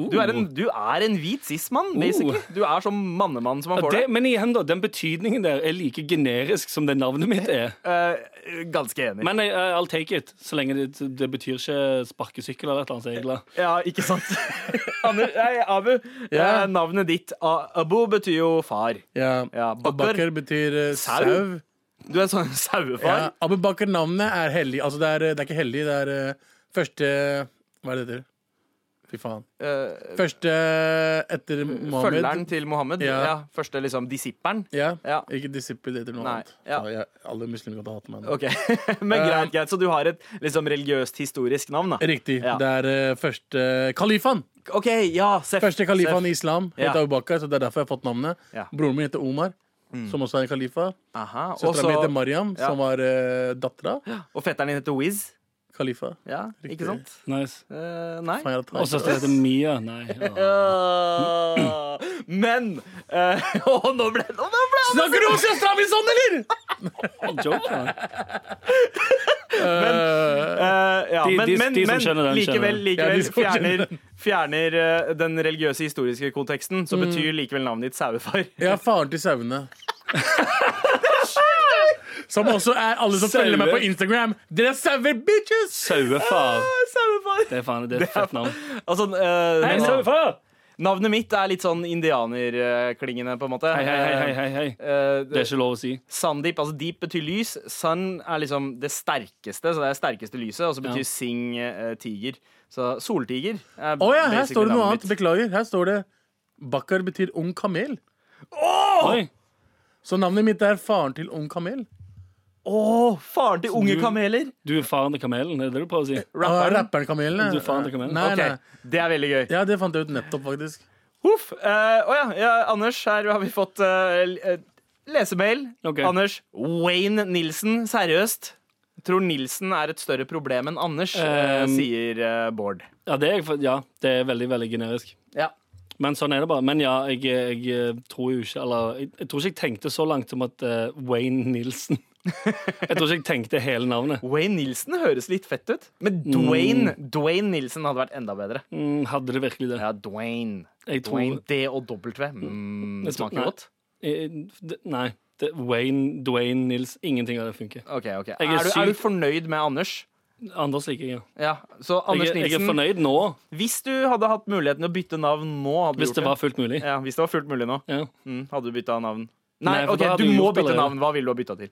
Oh. Du er en, du er en hvit cis-mann, basically. Du er som mannemann som man Ja, får det, det. men igjen, da. Den betydningen der er like generisk som det navnet mitt er. Eh, ganske enig. Men jeg, I'll take it, så lenge det, det betyr ikke sparkesykkel eller et eller annet. Så er jeg glad. ja, ikke sant? Ander, nei, Abu, Ja. eh, navnet ditt A- Abu betyr jo far. Ja. Ja, Bakar. Abubakar betyr eh, Sau? sau. Du er en sånn sauefar. Ja, Abubakar-navnet er hellig. Altså, det er, eh, det er ikke hellig, det er eh, første Hva er det det heter? Fy faen. Eh, Første etter Mohammed. følgeren til Mohammed. Ja. Ja. første liksom disippelen. Ja. Ja. Ikke disippel, det heter noe Nei, annet. ja. Faen, jeg, alle muslimer kan hate meg nå. Ok, Men greit, greit. Så du har et liksom religiøst, historisk navn, da? Riktig. Ja. Det er eh, første kalifaen. OK, ja, Seff. Første kalifaen Seff. i islam het Ja. Abu Bakar, så det er derfor jeg har fått navnet. Ja. Broren min heter Omar, som også er en kalifa. Aha, og Søstera mi så- heter Mariam, Ja. som var uh, dattera. Og fetteren din heter Wiz. Kalifa. Ja, Riktig. ikke sant? Nice. Eh, nei. Faen, jeg hadde tatt- Og så heter det Mia. Nei. ja. Øh, men eh, Å, nå ble nå ble han Snakker du om søstera mi sånn, eller?! Joke, ja. Eh, ja, De- men, de- men, de som men skjønner den, likevel, skjønner. Ja, likevel de som fjerner, skjønner den. fjerner eh, den religiøse, historiske konteksten, så betyr likevel navnet ditt sauefar. Jeg er faren til sauene. Som også er alle som Sauer. følger meg på Instagram. Dere er sauer, bitches! Sauefar. Sauefar. Det er faen, det er et fett navn. Ah, Altså, eh, Hei, navnet- sauefar! navnet mitt er litt sånn indianerklingende, på en måte. Hei, hei, hei, hei, hei. Eh, Det er ikke lov å si. Sandeep, altså deep betyr lys. Sun er liksom det sterkeste, så det er sterkeste lyset. Og så betyr Ja. sing eh, tiger. Så soltiger er Å ja, her basically står det noe navnet annet. Beklager. Her står det Bakkar betyr ung kamel. Oi. Så navnet mitt er faren til ung kamel. mitt. Å, faren til unge du- kameler! Du er faren til kamelen, er det det du prøver å si? Rapperen, Rapperen. Ah, rapperen Kamelen. ja. Du er faren til Kamelen. Nei, Ok, nei. Det er veldig gøy. Ja, det fant jeg ut nettopp, faktisk. Huff. Eh, å ja, ja, Anders, her har vi fått eh, l- eh, lesemail. Ok. Anders. Wayne Nilsen, seriøst. Tror Nilsen er et større problem enn Anders, eh, Eh, Ehm. sier eh, Bård. Ja, det er, ja, det er veldig, veldig generisk. Ja. Men sånn er det bare. Men ja, jeg, jeg eh, tror jo ikke Eller jeg, jeg tror ikke jeg tenkte så langt som at eh, Wayne Nilsen Jeg tror ikke jeg tenkte hele navnet. Wayne Nilsen høres litt fett ut, men Mm. Dwayne Dwayne Nilsen hadde vært enda bedre. Mm, hadde det virkelig det? Ja, Dwayne. Jeg tror- Dwayne D og dobbelt V. Mm, Jeg det tror- smaker godt. Eh, det- Nei. Det, Wayne, Dwayne, Nils Ingenting av det funker. Ok, ok. Jeg Er, er du, er du sykt- fornøyd med Anders? Anders liker jeg, ja. Ja, Så Anders Jeg, er- jeg er Nilsen, fornøyd nå, hvis du hadde hatt muligheten til å bytte navn nå hadde du hvis gjort det var fullt mulig. Ja, hvis det var fullt mulig nå. Ja. Mm, hadde du bytta navn? Nei, Nei, for ok, da hadde du jeg må gjort bytte navn. allerede. Hva vil du ha bytta til?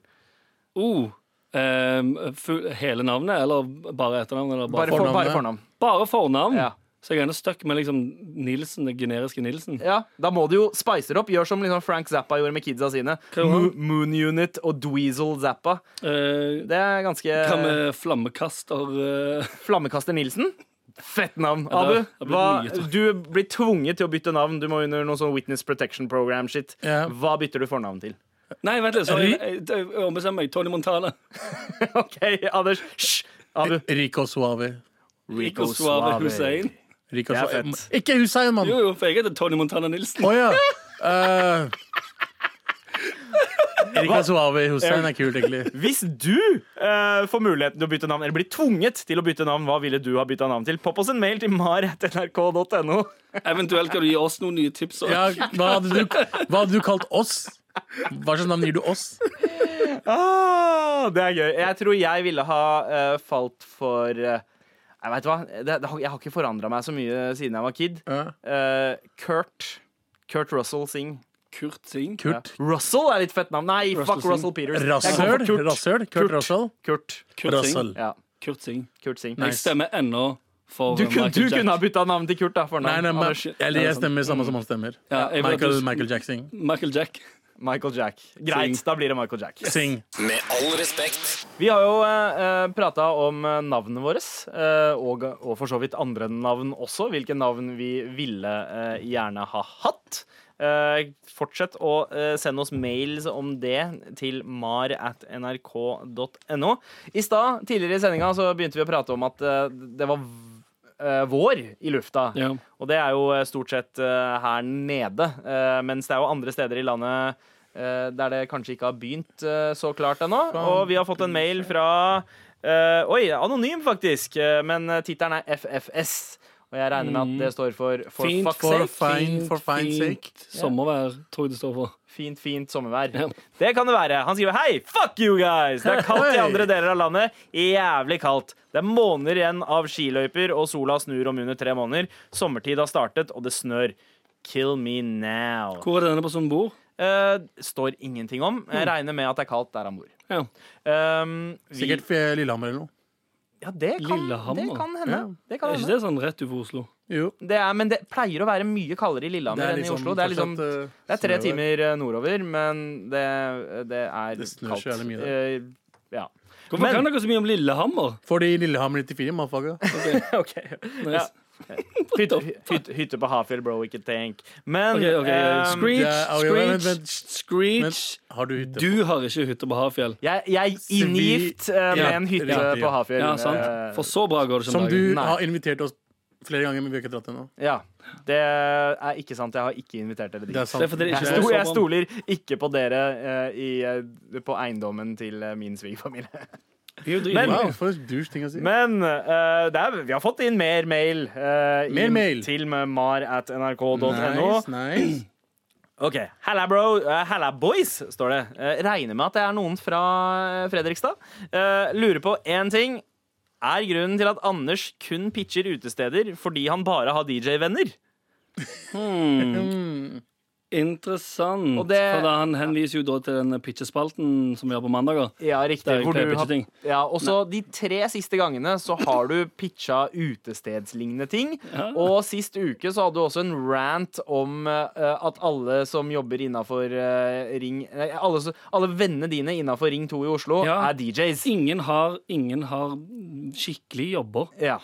Oh, ehm, fu- hele navnet, eller bare etternavn? Eller bare, Bare, fornavn? for, fornavnet. bare fornavn. Bare fornavn. Ja. Så jeg er gjerne stuck med liksom Nilsen, det generiske Nilsen. Ja, Da må du jo spice det opp. Gjør som liksom Frank Zappa gjorde med kidsa sine. gjorde han? Mo- Moon Unit og Dweezil Zappa. Eh, Det er ganske Hva med flammekaster eh, Flammekaster Nilsen? Fett navn. Ja, det- Abu, det blir hva, mye, tror du blir tvunget til å bytte navn. Du må under noe sånn Witness Protection Program-shit. Ja. Hva bytter du fornavn til? Nei, vent litt. sorry. Jeg- jeg- jeg Ombestemmer meg. Tony Montana. OK, Anders. Hysj! Abu. Rico Suave. Rico Suave Hussein. Rico Det er Suave. fett. Ikke Hussein, mann! Jo, jo, for jeg heter Tony Montana Nilsen. Å ja. Eh, Rico Suave Hussein er kult, egentlig. Hvis du eh, får muligheten til å bytte navn, eller blir tvunget til å bytte navn, hva ville du ha bytta navn til? Popp oss en mail til mar.nrk.no. Eventuelt kan du gi oss noen nye tips. også. Ja, hva, hadde du, hva hadde du kalt oss? Hva slags navn gir du oss? Ah, det er gøy. Jeg tror jeg ville ha eh, falt for eh, Jeg vet hva, det, det, har- jeg har ikke forandra meg så mye siden jeg var kid. Ja. Eh, Kurt. Kurt Russell Singh. Kurt Singh. Kurt. Russell er litt fett navn. Nei, Russell fuck Singh. Russell Peters. Jeg går Rassøl? for Kurt. Rassøl? Kurt Russell? Kurt. Kurt Singh. Russell. Ja, Kurt Singh. Kurt Singh. Jeg stemmer ennå for Du, kun, Michael du Jackson. kunne ha bytta navn til Kurt, da. Fornavn. Nei, nei, men, Anders. eller jeg stemmer samme som han stemmer. Ja, jeg vet at Michael, du- Michael Jackson. Michael Jack. Michael Jack. Greit, Singh. da blir det Michael Jack. Sing. Med all respekt. Vi har jo eh, prata om eh, navnene våre, eh, og, og for så vidt andre navn også. Hvilke navn vi ville eh, gjerne ha hatt. Eh, fortsett å eh, sende oss mails om det til mar at nrk.no. I stad, tidligere i sendinga, så begynte vi å prate om at eh, det var v- eh, vår i lufta. Ja. Og det er jo eh, stort sett eh, her nede, eh, mens det er jo andre steder i landet eh, der det kanskje ikke har begynt eh, så klart ennå. Og vi har fått en mail fra eh, Oi, anonym faktisk, eh, men eh, tittelen er FFS. Og jeg regner med at det står for For Fint fuck's For sake. fine, for fine sake. Sommervær, tror jeg det står for. Fint, fint sommervær. Ja. Det kan det være. Han skriver hei, fuck you guys! Det er kaldt i Hei. andre deler av landet. Jævlig kaldt. Det er måneder igjen av skiløyper, og sola snur om under tre måneder. Sommertid har startet, og det snør. Kill me now. Hvor er det denne personen bor? Eh, står ingenting om. Jeg Mm. regner med at det er kaldt der han bor. Ja. Um, vi- Sikkert fra Lillehammer eller noe. Ja, det kan, Lillehammer. det kan hende. Det kan Er ikke hende. det sånn rett utenfor Oslo? Jo. Det er, men det pleier å være mye kaldere i Det Lillehammer er enn i liksom Oslo. Det er liksom fortsatt, eh, Det er tre snøvær. timer eh, nordover, men det, eh, det er Det snør kaldt. så jævlig mye Eh, ja. Hvorfor Men- kan dere så mye om Lillehammer? Fordi Lillehammer 94, mannfaga. OK. Ja. Nice. Hytte, hytte, hytte på Hafjell, bro, ikke tenk. Men Ok, ok, eh, Screech, det er- ok, vent, screech, vent, screech. Har du hytte? Du har ikke hytte på Hafjell. jeg, jeg er inngift eh, med Ja, en hytte riktig, på ja. Hafjell. Ja, sant? eh, For så bra går det ikke Som om du dagen. Nei. har invitert oss flere ganger, men vi har ikke dratt ennå. ja. Det er ikke sant. Jeg har ikke invitert dere Det er dit. sant. Det er fordi dere Jeg, ikke sto, står jeg sammen. stoler ikke på dere eh, i, eh, på eiendommen til eh, min svigerfamilie. Vi er jo Men- dritbra. Wow, for en douche ting å si. Men eh, det er, vi har fått inn mer mail, eh, Mer inn mail. til mar.nrk.no. Nice, nice. OK. Halla, bro. eh, Halla, boys, står det. Eh, regner med at det er noen fra eh, Fredrikstad. Eh, lurer på én ting. Er grunnen til at Anders kun pitcher utesteder fordi han bare har DJ-venner? Interessant. Og det- For da han henviser jo da til den pitchespalten som vi har på mandager. Ja, riktig. Der Hvor pleier du jeg å pitche har, ting. ja, og så de tre siste gangene så har du pitcha utestedslignende ting. Og sist uke så hadde du også en rant om eh, at alle som jobber innafor Ring nei, alle, som- alle vennene dine innafor Ring 2 i Oslo Ja. er DJs. Ingen har, ingen har skikkelig jobber. Ja.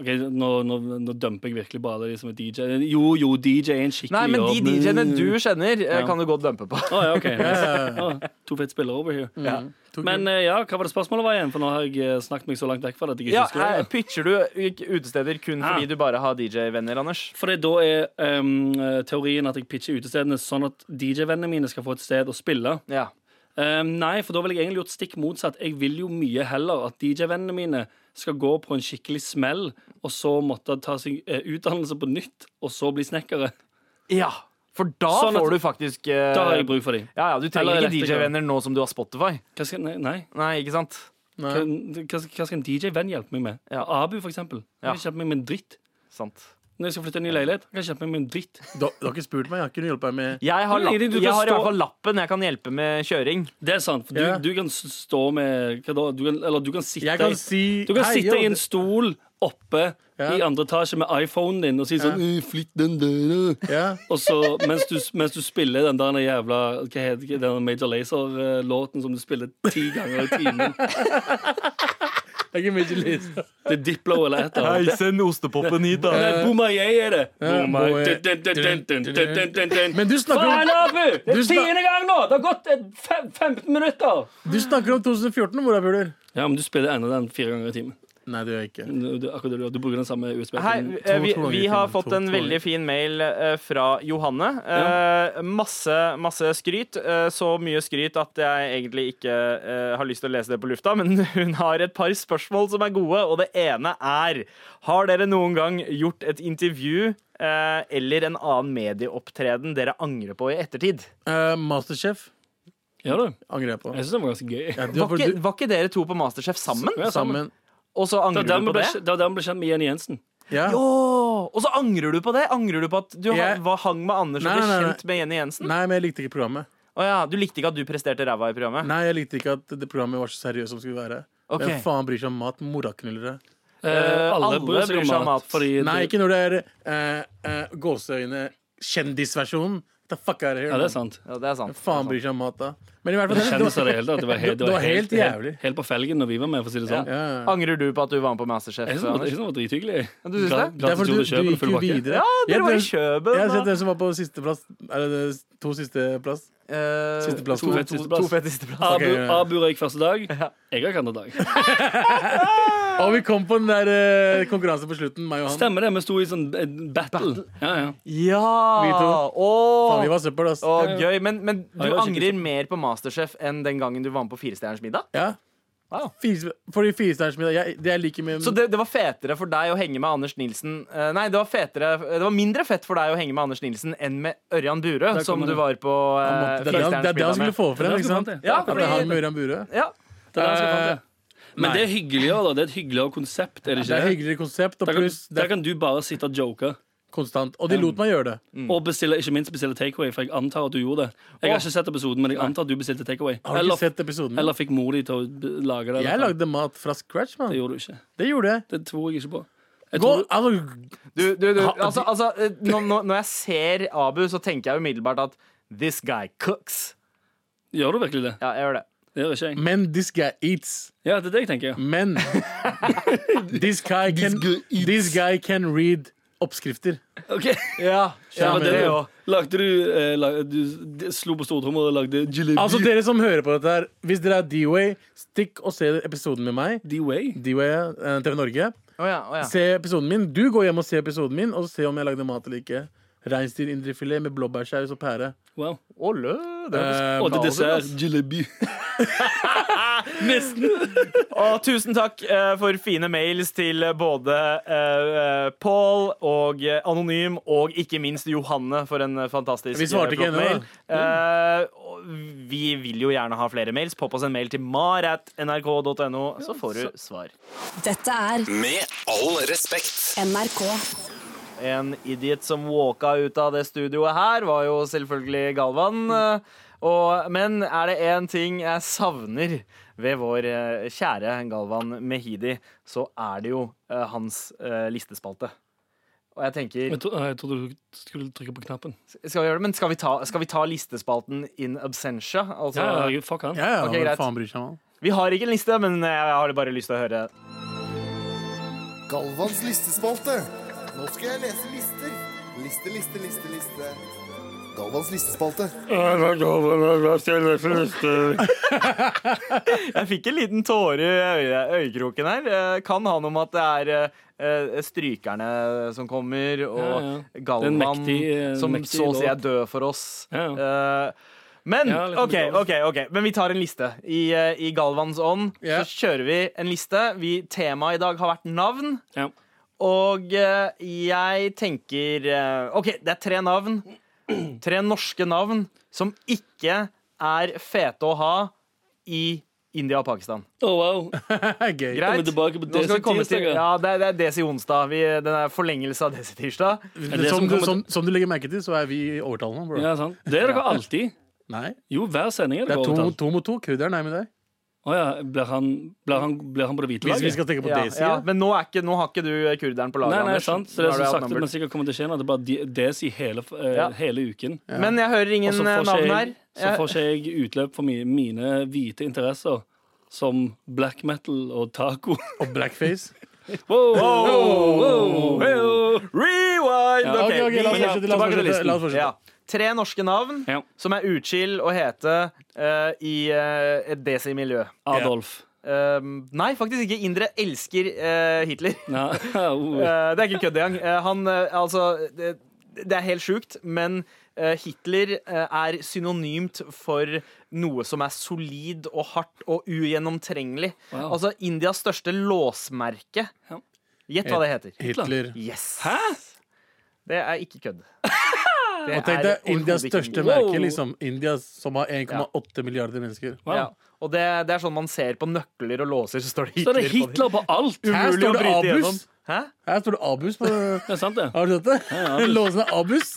Ok, nå, nå, nå dumper jeg virkelig bare alle de som er DJ. Jo, jo, DJ er en skikkelig Nei, men de jobb. DJ-ene du kjenner, eh, kan du godt dumpe på. Å, ja, ok. Å, to fete spillere over here. Men eh, ja, hva var det spørsmålet var igjen? For nå har jeg eh, snakket meg så langt vekk fra det at jeg ikke Ja, husker det. eh, Pitcher du ut- utesteder kun Ja. fordi du bare har DJ-venner, Anders? For da er em, eh, teorien at jeg pitcher utestedene sånn at DJ-vennene mine skal få et sted å spille. Ja. Em, nei, for da ville jeg egentlig gjort stikk motsatt. Jeg vil jo mye heller at DJ-vennene mine skal gå på en skikkelig smell, og så måtte ta seg eh, utdannelse på nytt, og så bli snekkere. ja. For da Sånn at- får du faktisk eh, Da har jeg bruk for dem. ja, ja, Du trenger Eller ikke elektriker. DJ-venner nå som du har Spotify. Hva skal, nei, nei. Nei, ikke sant? Hva, hva, hva skal en DJ-venn hjelpe meg med? Ja. Abu, for eksempel. Han kan ikke hjelpe meg med en dritt. Sant. Når jeg skal flytte inn i leilighet, han kan ikke hjelpe meg med en dritt. Du, du har ikke spurt meg, jeg har ikke noe hjelp her med Jeg har, Nei, lapp, du kan jeg har i stå- hvert fall lappen jeg kan hjelpe med kjøring. Det er sant. For du, Ja. du kan s- stå med Hva da? Du kan, eller du kan sitte Jeg kan i- si Du kan «Hei, sitte yo, i en det- stol oppe Ja. i andre etasje med iPhonen din og si sånn «Øh, Flytt den der, da». ja. Og så mens du, mens du spiller den der jævla Hva heter det, den Major Lazer-låten som du spiller ti ganger i timen. Det er ikke mye lys. Det er Diplo eller et eller annet. send ostepopen hit, Nei, Eh, Bomayay Eh, er det. Bomayay. Men du snakker om- Faen, Abu! Det Du er snak- tiende gang nå! Det har gått eh, fem- 15 minutter! Du snakker om 2014, hvor jeg puler. Ja, men du spiller ennå den fire ganger i timen. Nei, det gjør jeg ikke. Du, du, akkurat det du, gjør. du bruker den samme Hei, USB-en. eh, vi, To- to ganger vi i har timen. fått To- en to veldig ganger. fin mail eh, fra Johanne. Eh, Masse, masse skryt. Eh, Så mye skryt at jeg egentlig ikke eh, har lyst til å lese det på lufta, men hun har et par spørsmål som er gode, og det ene er Har dere noen gang gjort et intervju eh, eller en annen medieopptreden dere angrer på i ettertid? Eh, Masterchef Ja, du. angrer jeg på. Jeg syns den var ganske gøy. Ja, du, Var for ikke, du, var ikke dere to på Masterchef sammen? Ja, sammen. sammen. Og så Det angrer var der du vi på ble, det? det var der vi ble kjent med Jenny Jensen. Ja. Jo, og så angrer du på det? Angrer du på at du Jeg- ha- var, hang med Anders Nei, og ble nei, nei, nei. kjent med Jenny Jensen? Nei, men jeg likte ikke programmet. Å ja, Du likte ikke at du presterte ræva i programmet? Nei, jeg likte ikke at det programmet var så seriøst som det skulle være. Ok. Hvem faen bryr seg om mat? Moraknullere. Eh, alle bryr seg om mat. Fordi Nei, det, ikke når det er eh, eh, gåseøyne kjendisversjonen. The fuck er det ja, her? det er sant. Ja, det er sant. Faen bryr seg om mat, da. Men i hvert fall Kjennes av det hele tatt. Det var helt, det Det var var helt helt, helt, jævlig. helt, på felgen når vi var med, for å si det sånn. Ja, ja. Angrer du på at du var med på Masterchef? Jeg syns Anders? den var drithyggelig. du synes det? Gra- Det er Gratis fordi tur du, til Kjøben, du gikk full jo pakke. videre. Ja, dere var i Jeg har sett Kjøben. den som var på siste plass. Er det det to siste plass? Eh, Siste plass. To, To fett to, siste plass. to fett sisteplass. Abu, Ok, ja. Abu røyk første dag. Jeg røyk andre dag. Og vi kom på den der eh, konkurransen på slutten, meg og han. Stemmer det. Vi sto i sånn eh, battle. Ja, ja. Vi Ja! to. Faen, vi Å, var søppel, ass. å, gøy. Men, men du det var skikkelig angrer mer på Masterchef enn den gangen du var med på Firestjerners middag? Ja. Wow. Fire, fordi firestjerners middag jeg, Det jeg liker med Så det, det var fetere for deg å henge med Anders Nilsen eh, Nei, det var, fetere, det var mindre fett for deg å henge med Anders Nilsen enn med Ørjan Burøe, Der som du kommer det. var på uh, Det er det han- det er det han skulle få Det er frem. det ikke han skulle sant? frem til. Ja, At det er han med Ørjan Burøe. ja. Det er det jeg skal fram til. Men Nei. det er hyggeligere, da. Det er et hyggeligere konsept, er det Det ikke er det? hyggeligere konsept, og Der kan, pluss det der er kan du bare sitte og joke. konstant. Og de lot meg gjøre det. Og bestille, ikke minst bestille takeaway, for jeg antar at du gjorde det. Jeg har ikke sett episoden, men jeg antar at du bestilte takeaway. Har du ikke Eller, sett episoden? eller fikk mor di til å b- lage det. eller Jeg noe. lagde mat fra scratch, Det mann. gjorde du ikke. Det gjorde jeg. Det tror jeg ikke på. Jeg Gå, tror, altså, Du, du, du, altså, altså eh, nå, nå, Når jeg ser Abu, så tenker jeg umiddelbart at This guy cooks. gjør du virkelig det? Ja, jeg gjør det. Det gjør ikke jeg. men Mm. this guy eats. Ja, det er det jeg tenker. ja. Men this guy can, this guy can read oppskrifter. Ok Ja, Ja, men men det du- jo. Lagde du, eh, la- du d- slo på stortromma og lagde jalebi? Altså, dere som hører på dette her, hvis dere er D-Way, stikk og se episoden med meg. D-Way? D-Way eh, TV Norge. Å ja, å ja. Se episoden min. Du går hjem og ser episoden min, og se om jeg lagde mat eller ikke. Reinsdyrindrefilet med blåbærsaus og pære. Wow. Å, lø. det Eh, er Og til kaos, dessert ass. jalebi. Nesten. Og tusen takk eh, for fine mails til både eh, Paul og eh, Anonym, og ikke minst Johanne for en eh, fantastisk Vi svarte eh, ikke flott ennå, mail. Eh, og vi vil jo gjerne ha flere mails. Popp oss en mail til mar.nrk.no, så får du svar. Dette er Med all respekt. NRK. En idiot som walka ut av det studioet her, var jo selvfølgelig Galvan. Og, men er det én ting jeg savner ved vår eh, kjære Galvan Mehidi, så er det jo eh, hans eh, listespalte. Og jeg tenker Jeg, tro, jeg trodde du skulle trykke på knappen. Skal vi gjøre det, men skal vi ta, skal vi ta listespalten in absentia? Altså, Ja, ja, fuck han. Ja, ja, Ok, hva greit. faen bryr seg om han? Vi har ikke en liste, men jeg har bare lyst til å høre Galvans listespalte. Nå skal jeg lese lister. Liste, liste, liste, liste. Galvans listespalte. Jeg fikk en liten tåre i øye, øyekroken her. Eh, Kan ha noe med at det er eh, eh, strykerne som kommer, og Ja, ja. Galvan Det er en mektig, eh, som mektig så å si er låt. død for oss. Ja, Eh, men Ja, litt OK, mektig. ok, ok Men vi tar en liste. I, eh, i Galvans ånd Ja. så kjører vi en liste. Vi, temaet i dag har vært navn. Ja. Og eh, jeg tenker eh, OK, det er tre navn. Tre norske navn som ikke er fete å ha i India og Pakistan. Oh, wow. Gøy. Greit? Kommer tilbake på Nå skal vi komme til, Desi-tirsdager. ja, det, er, det er Desi onsdag. Vi, den er forlengelse av Desi tirsdag. det Som, som du, kommer- som, som du legger merke til, så er vi overtalende. Bro. Ja, sant. Det er dere alltid. Nei, Jo, hver sending er det dere er to, overtalt. to mot to. Krydderen er med deg. Å ja, blir han, blir, han, blir han på det hvite Hvis vi laget? skal tenke på Ja, Daisy. ja, Ja. men nå, er ikke, nå har ikke du eh, kurderen på laget, Nei, nei, Anders. sant. Så Nå det er som du sagt, outnumbered. men sikkert kommer til å skje nå, det er bare de- Desi hele, eh, Ja. hele uken. Men jeg hører Og ingen så eh, får navn ikke her. jeg, så får ikke jeg utløp for mi- mine hvite interesser, som black metal og taco. Og blackface. Wow, Wow. wow. Rewind! Ja, ok, ok, ok, vi- la oss fortsette, la oss tilbake til fortsette, la oss listen. fortsette. Ja. Tre norske navn Ja. som er utskill å hete eh, i eh, et Desi-miljø. Adolf. Eh, nei, faktisk ikke. Indere elsker eh, Hitler. Nei, oh. Eh, det er ikke kødd engang. Eh, han, eh, altså, det, det er helt sjukt, men eh, Hitler eh, er synonymt for noe som er solid og hardt og ugjennomtrengelig. Wow. Altså Indias største låsmerke. Ja. Gjett hva det heter. Hitler. Yes. Hæ? Det er ikke kødd. Det Og tenk deg er Indias overhodet ikke største kødd. merke, Wow. liksom. India som har 1,8 milliarder mennesker. Wow. Ja. Og det, det er sånn man ser på nøkler og låser, så står det Så er Hitler, det Hitler på alt! på dem. Her Umulig å står det bryte Abus. igjennom. Hæ? Her står det Abus på Det er sant, det. Har du sett det? Låsen er Abus.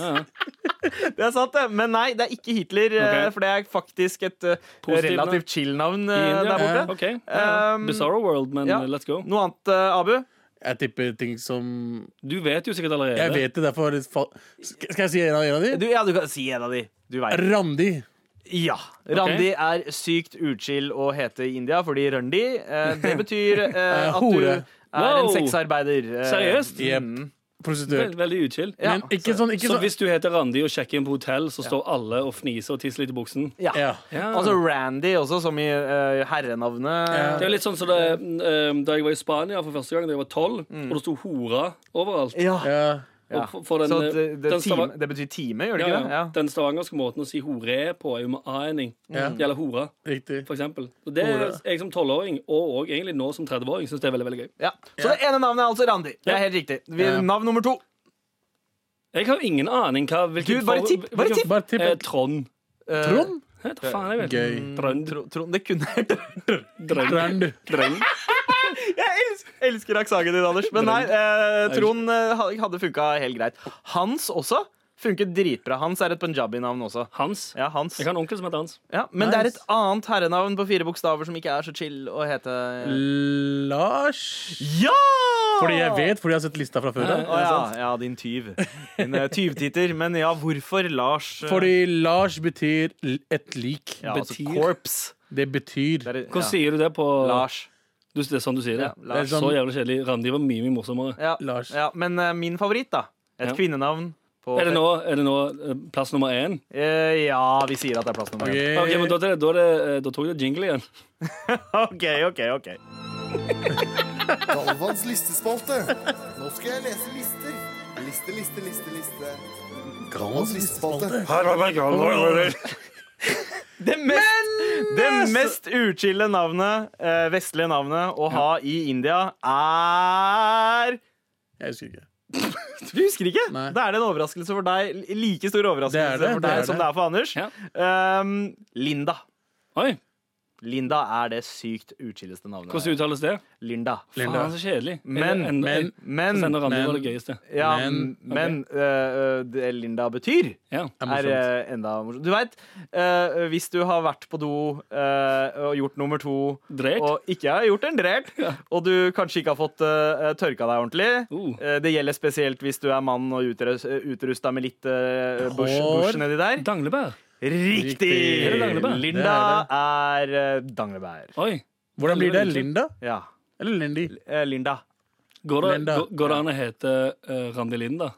Det er sant, det. Men nei, det er ikke Hitler. eh, Ok. For det er faktisk et eh, Positivt navn. relativt chill-navn eh, I India? der borte. OK. Ja. Um, Bizarro World, men ja. eh, let's go. Noe annet, eh, Abu? Jeg tipper ting som Du vet jo sikkert allerede. Jeg vet det, derfor fa- Sk- Skal jeg si en av, en av de? Du, ja, du kan si en av de. Du veit. Randi. Ja. Randi er sykt utskill å hete i India, fordi Røndi, eh, det betyr eh, at du hore. er en Wow. sexarbeider. Eh, Seriøst? Jepp. Prostituert. Vel- Veldig utskill. Ja. Men ikke sånn, ikke Så sånn. hvis du heter Randi og sjekker inn på hotell, så står alle og fniser og tisser litt i buksen? Ja. Ja. Altså Randy også, som i eh, herrenavnet. Ja. Det er jo litt sånn som det, ehm, da jeg var i Spania for første gang da jeg var tolv, og det sto 'hora' overalt. Ja. ja. Mm. Ja. Og for- for den, eh, Så det, det, den time, stava- det betyr time, gjør det ja, ikke ja. det? Ja. Den stavangerske måten å si 'hore' på er jo med a-ending. Ja. Det gjelder hora, Riktig. for eksempel. Og det er Hora. jeg som tolvåring, og, og egentlig nå som 30-åring, syns det er veldig veldig gøy. Ja. Så det ene navnet er altså Randi. Det er helt riktig. Vi, Ja. Navn nummer to. Jeg har ingen aning hva hvilken Du, bare for- tipp, bare hvilken- tipp. Bare tipp. Eh, Trond. Eh, Trond? Jeg vet da faen, jeg vet. Gøy. Trond. Tro, tro, det kunne vært Trond. Drøng. Jeg elsker, elsker aksenten din, Anders. Men nei, eh, Trond eh, ha- hadde funka helt greit. Hans også funket dritbra. Hans er et punjabi-navn også. Hans. Ja, Hans. Jeg har en onkel som heter Hans. Ja, men det er et annet herrenavn på fire bokstaver som ikke er så chill å hete. Lars. Ja! Fordi jeg vet, fordi jeg har sett lista fra før. Å Da. ja, ja, din tyv. Din eh, tyvtitter. Men ja, hvorfor Lars? eh, Fordi Lars betyr l- et lik. ja, altså, betyr- Corps. Det betyr Det er, Hvordan ja. sier du det på Lars. Du, det er sånn du sier det? Ja, Lars. Det er Så jævlig kjedelig. Randi var mye mye morsommere. Ja, Lars. ja, men eh, min favoritt, da. Et Ja. kvinnenavn. På Er det nå, er det nå eh, plass nummer én? Eh, ja, vi sier at det er plass nummer én. Ok. Ok, men da, da, er det, eh, da tok jeg jingle igjen. OK, OK, OK. Galvans listespalte. Nå skal jeg lese lister. Liste, liste, liste, liste. Galvans listespalte. Det mest, det mest uchille navnet, eh, vestlige navnet, å ha i India er Jeg husker ikke. Du husker ikke? Nei. Da er det en overraskelse for deg. Like stor overraskelse Det er det, for det deg er som det. det er for Anders. Ja. Um, Linda. Oi, Linda er det sykt uchilleste navnet. Hvordan uttales det? Linda. Linda. Faen, så kjedelig. Men, Enda- men, men, Så sender Randi men- var det gøyeste. ja, men, men- øh, øh, det Linda betyr, Ja. er er morsomt. øh, enda morsomt. Du veit, hvis du har vært på do øh, og gjort nummer to Drert. og ikke har gjort en drert, og du kanskje ikke har fått øh, tørka deg ordentlig Uh. Eh, Det gjelder spesielt hvis du er mann og utrusta med litt uh, bush, Hår. bush nedi der. Danglebær. Riktig! Riktig. Er det danglebær? Linda er øh, danglebær. Oi. Hvordan blir det? Linda Ja. eller Lindy? Eh, Linda. Går det, Linda. går- Går det an å hete eh, Randi Linda?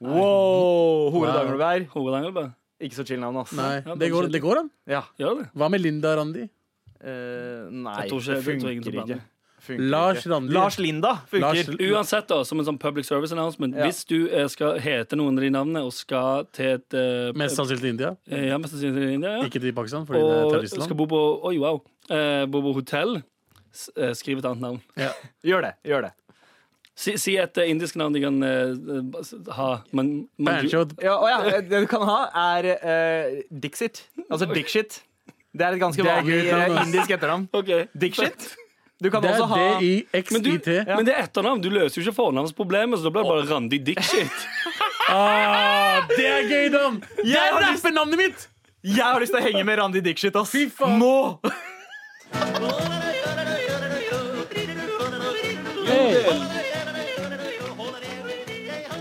Wow! Hore Wow. danglebær. Hore Danglebær? Ikke så chill navn, ass. Nei, Ja, det går, kanskje- det går an. Ja. Gjør det? Hva med Linda Randi? Eh, nei, Jeg tror ikke- det jeg tror funker ingen som blander. ikke. Funker Lars ikke. Randi. Lars Linda funker. Lars- Uansett, da, som en sånn public service announcement, Ja. hvis du eh, skal hete noen av de navnene og skal til et eh, Mest sannsynlig til India. eh, Ja, mest sannsynlig India, ja. Ikke til Pakistan, fordi det er Og skal terroristland. bo på Oi, wow. Eh, bo på hotell. S eh, skriv et annet navn. Ja. Gjør det. gjør det Si, si et eh, indisk navn de kan eh, ha. Men, men du, Banshot. ja, og ja, Det du kan ha, er eh, Dixit. Altså Dixit. Det er et ganske Det er vanlig gult navn, eh, ass. indisk etternavn. Ok. Dixit. Du kan Det også er altså, ha Men, du, D-I-X-I-T. men det er etternavn. Du løser jo ikke fornavnsproblemet, så da blir det bare Randi Dixit. Ah, det er gøy, Dan! Jeg har det er- lyst på navnet mitt! Jeg har lyst til å henge med Randi Dixit, ass. Fy faen. Nå!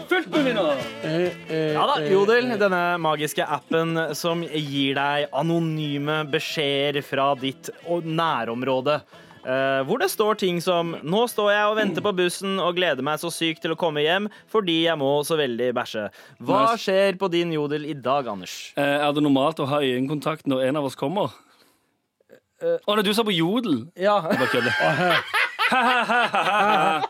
Fullt på vinner! Eh, Ja da, Eh, Jodel, denne magiske appen som gir deg anonyme beskjeder fra ditt og- nærområde. eh, hvor det står ting som Nå står jeg og venter på bussen og gleder meg så sykt til å komme hjem fordi jeg må så veldig bæsje. Hva Nice. skjer på din jodel i dag, Anders? Eh, Er det normalt å ha øyekontakt når en av oss kommer? Å nei, du sa på Jodel. Ja. Bare kødder.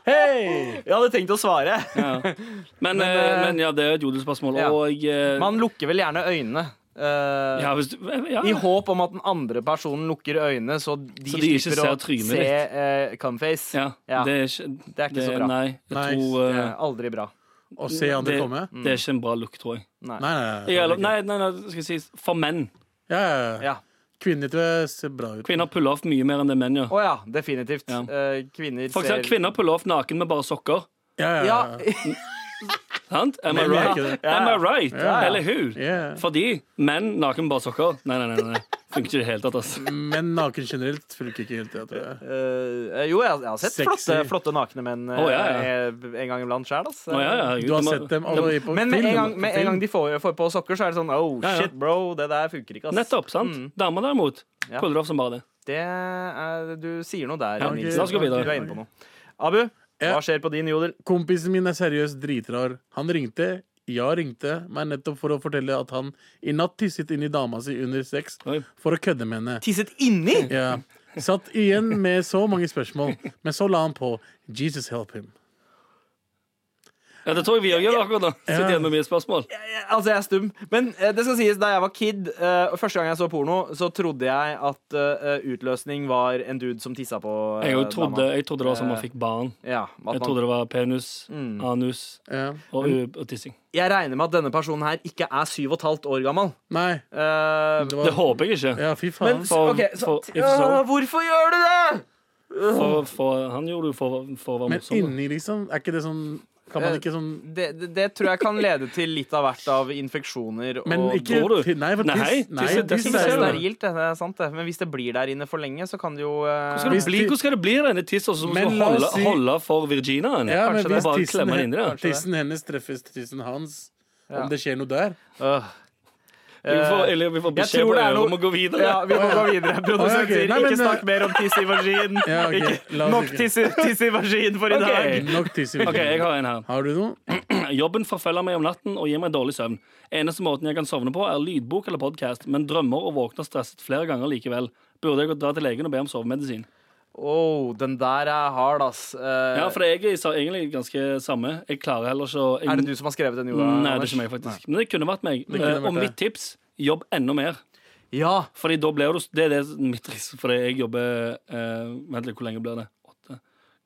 Hei! Jeg hadde tenkt å svare. Men, eh, men ja, det er et jodelspørsmål. Ja. Og eh, Man lukker vel gjerne øynene. eh, ja, hvis du, ja. I håp om at den andre personen lukker øynene, så de, Så de ikke slipper ser å trynet se ditt. eh, cumface. ja, Ja. Det, er ikke, Det er ikke så bra. Nei, jeg Nice. tror Det eh, er aldri bra. Å se andre det, komme? det er ikke en bra look, tror jeg. Nei, nei, jeg nei. eller, nei, nei, nei, skal jeg si for menn. Ja, ja, ja. Ja. Kvinner tror jeg ser bra ut. Kvinner puller off mye mer enn det menn gjør. Å ja, definitivt. Ja. Eh, kvinner For eksempel, ser kvinner puller off naken med bare sokker. Ja, ja, Ja, Eh, ja. Sant? Am I Men vi er right? ikke det. Am I right? Ja. Eller hun? Ja. Fordi menn naken med bare sokker. Nei, nei, nei. nei. Funker ikke i det hele tatt. ass Men naken generelt funker ikke helt, jeg tror jeg. eh, Jo, jeg, jeg har sett Sexy. flotte, flotte nakne menn eh, Å, ja, ja. eh, en gang iblant sjæl. Altså. Å, ja, ja, Du har de- sett dem alle i på Men med en, gang, film. med en gang de får, får på sokker, så er det sånn Oh, Ja, ja. shit, bro, det der funker ikke, ass. Nettopp, sant? Mm. Damer derimot Ja. puller off som bare det. Det er, du sier noe der. Ja, Nils. ok. La oss gå videre. Du er inne på noe. Abu, Ja. hva skjer på din jodel? Kompisen min er seriøst dritrar. Han ringte, jeg ringte meg nettopp for å fortelle at han i natt tisset inn i dama si under sex Oi. for å kødde med henne. Tisset inni? Ja. Satt igjen med så mange spørsmål, men så la han på Jesus help him. Ja, det tror jeg vi òg gjør akkurat nå. Sitter igjen med mye spørsmål. Altså, jeg er stum. Men eh, det skal sies, da jeg var kid, eh, og første gang jeg så porno, så trodde jeg at eh, utløsning var en dude som tissa på eh, Jeg, jo trodde, dama. jeg trodde det var Eh, sånn man fikk barn. Ja, at Jeg man, trodde det var penis, Mm. anus Ja. og, og tissing. jeg regner med at denne personen her ikke er syv og et halvt år gammel. Nei. Eh, Det Det var, håper jeg ikke. ja, fy men faen. for- ok, så, for- if Ah, so. Hvorfor gjør du det?! For, for, han gjorde det jo for, for å være Men morsom. inni, liksom, er ikke det sånn Kan man ikke sånn Det, det, det tror jeg kan lede til litt av hvert av infeksjoner og Men ikke Tror du? ti- Nei, for Nei, tiss, tiss- nei, tiss- tiss tiss- Det er er jo- sterilt, det er sant det. Men hvis det blir der inne for lenge, så kan det jo eh, Hvordan skal det bli, Hvordan skal det bli der inne tiss, og så skal Men du la oss holde, si- holde for virginaen? Ja, Kanskje men det hvis er bare å tissen, klemme den inn i det, hen- kanskje det. tissen hennes treffes til tissen hans, Ja. om det skjer noe der øh. Vi får, eller vi får Jeg beskjed tror på det er øret noe- om å gå videre. Ja, vi må gå videre. Produsent ok. sier Nei, men, ikke eh, snakk mer om tiss i vagin. Ja, ok. Ikke- La oss Nok ikke. tiss i- tiss i vagin for i Ok. dag. Nok tiss i OK, jeg har en her. Har du noe? Jobben forfølger meg om natten og gir meg dårlig søvn. Eneste måten jeg kan sovne på, er lydbok eller podkast, men drømmer og våkner stresset flere ganger likevel. Burde jeg gå dra til legen og be om sovemedisin? Oh, den der er hard, ass. Eh, Ja, for jeg er sa- egentlig ganske samme. Jeg klarer heller ikke å jeg, er det du som har skrevet den, Joa? Nei, det er Anders? ikke meg, faktisk. Men det kunne vært meg. kunne Eh, vært Og det. mitt tips jobb enda mer. Ja. Fordi da blir du Det er det som er mitt triks, fordi jeg jobber eh, Vent litt, hvor lenge blir det? Åtte?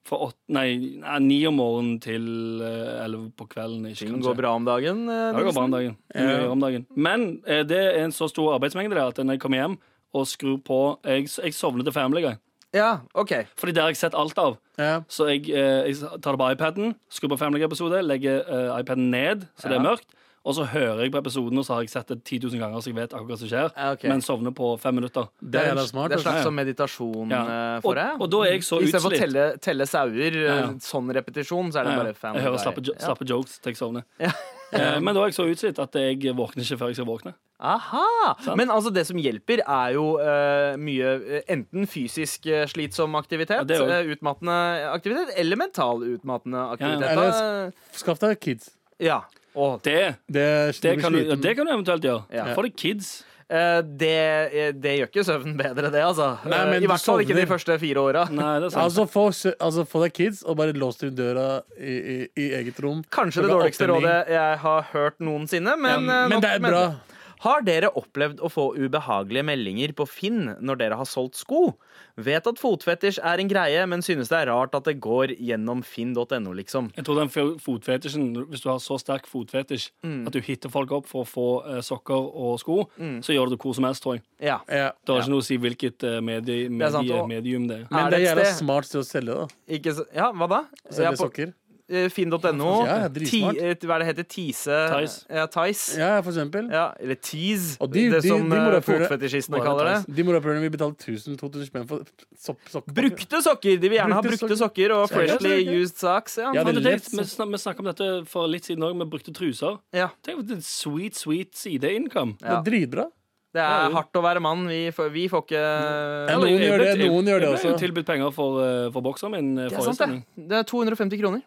Fra åtte Nei, nei, ni om morgenen til eh, elleve på kvelden. Ikke, Ting kanskje. går bra om dagen. eh, Ja, det går bra om dagen. Det er mye å Ja. gjøre om dagen. Men eh, det er en så stor arbeidsmengde der at når jeg kommer hjem og skrur på Jeg, jeg sovner til Family Guy. Ja, OK. Fordi det har jeg sett alt av. Ja. Så jeg, eh, jeg tar det på iPaden, skrur på Family Guy-episode, legger eh, iPaden ned så det Ja. er mørkt. Og så hører jeg på episoden, og så har jeg sett det 10 000 ganger, så jeg vet akkurat hva som skjer. Ja, Ah, ok. Men sovner på fem minutter. Det er jævla smart. det er altså. slags som meditasjon Ja. eh, Og, for deg. og da er jeg så Istedenfor å utslitt. telle, telle sauer, eh, ja. sånn repetisjon, så er det Ja, bare fem. Eh, jeg hører der. slappe, jo- Ja. slappe jokes til jeg sovner. Ja. Eh, Men da er jeg så utslitt at jeg våkner ikke før jeg skal våkne. Aha! Men altså det som hjelper, er jo eh, mye eh, enten fysisk eh, slitsom Ja, aktivitet, det er jo- eh, utmattende aktivitet, eller mental utmattende aktivitet. Ja, Ja, ja. Eller- Skaff deg kids. ja. Og, Det, Det, er- det, blir kan, du, ja, sliten. det kan du eventuelt gjøre. Ja. For det er kids. eh, det, eh, det gjør ikke søvnen bedre, det, altså. Nei, Eh, men I du hvert fall ikke de sovner. første fire åra. Nei, det er sant. Altså få, sø- altså få deg kids og bare lås dem i døra i, i, i eget rom. Kanskje det Klokka dårligste åtte, ni. rådet jeg har hørt noensinne, men, Ja, eh, men nok det er med bra. Har dere opplevd å få ubehagelige meldinger på Finn når dere har solgt sko? Vet at fotfetisj er en greie, men synes det er rart at det går gjennom finn.no, liksom. jeg tror den fo- fotfetisjen, Hvis du har så sterk fotfetisj Mm. at du hitter folk opp for å få eh, sokker og sko, så gjør du det hvor som helst, tror jeg. Ja. Ja. Det har ikke noe å si hvilket eh, medie, er sant, medie, og- medium det er. Men Er det er det et jævla sted- smart sted å selge, da. Ikke så, ja, hva da? Selge Ja, på, sokker. eh, Finn.no. Ja, Ti, dritsmart. eh, hva er det heter? Tise? Tice. Ja, Tice. Ja. Ja, for eksempel. eller Tease, Og de- det de- som de må eh, da føle- fotfetisjistene Bare kaller det. De morapulerne vil betale 1000-2000 spenn for sopp- sokker. Brukte sokker! De vil gjerne ha Brukte brukte sokker. sokker og Ja, det er freshly greit. used socks. Ja, Ja, Men det det, er det, lett. vi snak- vi snakket om dette for litt siden òg, med brukte truser. ja. Tenk på en sweet, sweet sideinnkom. Det er dritbra. Det Ja, er jo. hardt å være mann. Vi får, vi får ikke Ja, noen gjør det, noen gjør det Jeg ble jo også. tilbudt penger for, eh, for bokseren min. eh, Det er forrige sant, sending. det. Det er 250 kroner.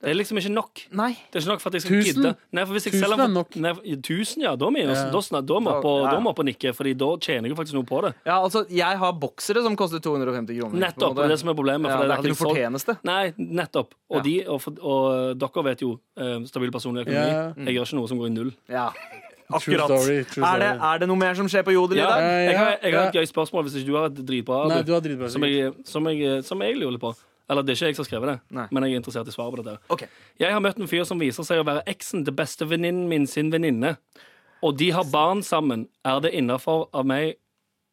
Det er liksom ikke nok. Nei. Det er ikke nok for at jeg skal Tusen? gidde. Nei, for hvis jeg Tusen selger for- er nok. Nei, for- ja, tusen, ja. Da må jeg Ja. da snak- da må jeg på- Ja. da må jeg på nikke, Fordi da tjener jeg faktisk noe på det. Ja, altså, jeg har boksere som koster 250 kroner. på en Nettopp. måte. Det er det som er problemet. ja, for det er hadde ikke noe jeg solgt- fortjeneste. Nei, nettopp. Og, Ja. de, og, for, og dere vet jo eh, stabil personlig økonomi. Ja. Jeg gjør ikke noe som går i null. Ja. True Akkurat. story, true er, det, story. Eh, er det noe mer som skjer på Jodel Ja, i dag? jeg, har, jeg har et ja. gøy spørsmål hvis ikke du har et dritbra Nei, Abu, du har dritbra som, jeg, som, jeg, som jeg lurer på. Eller det er ikke jeg som har skrevet det, Nei. men jeg er interessert i svaret på dette. Ok. Jeg har møtt en fyr som viser seg å være eksen til bestevenninnen min sin venninne. Og de har barn sammen. Er det innafor av meg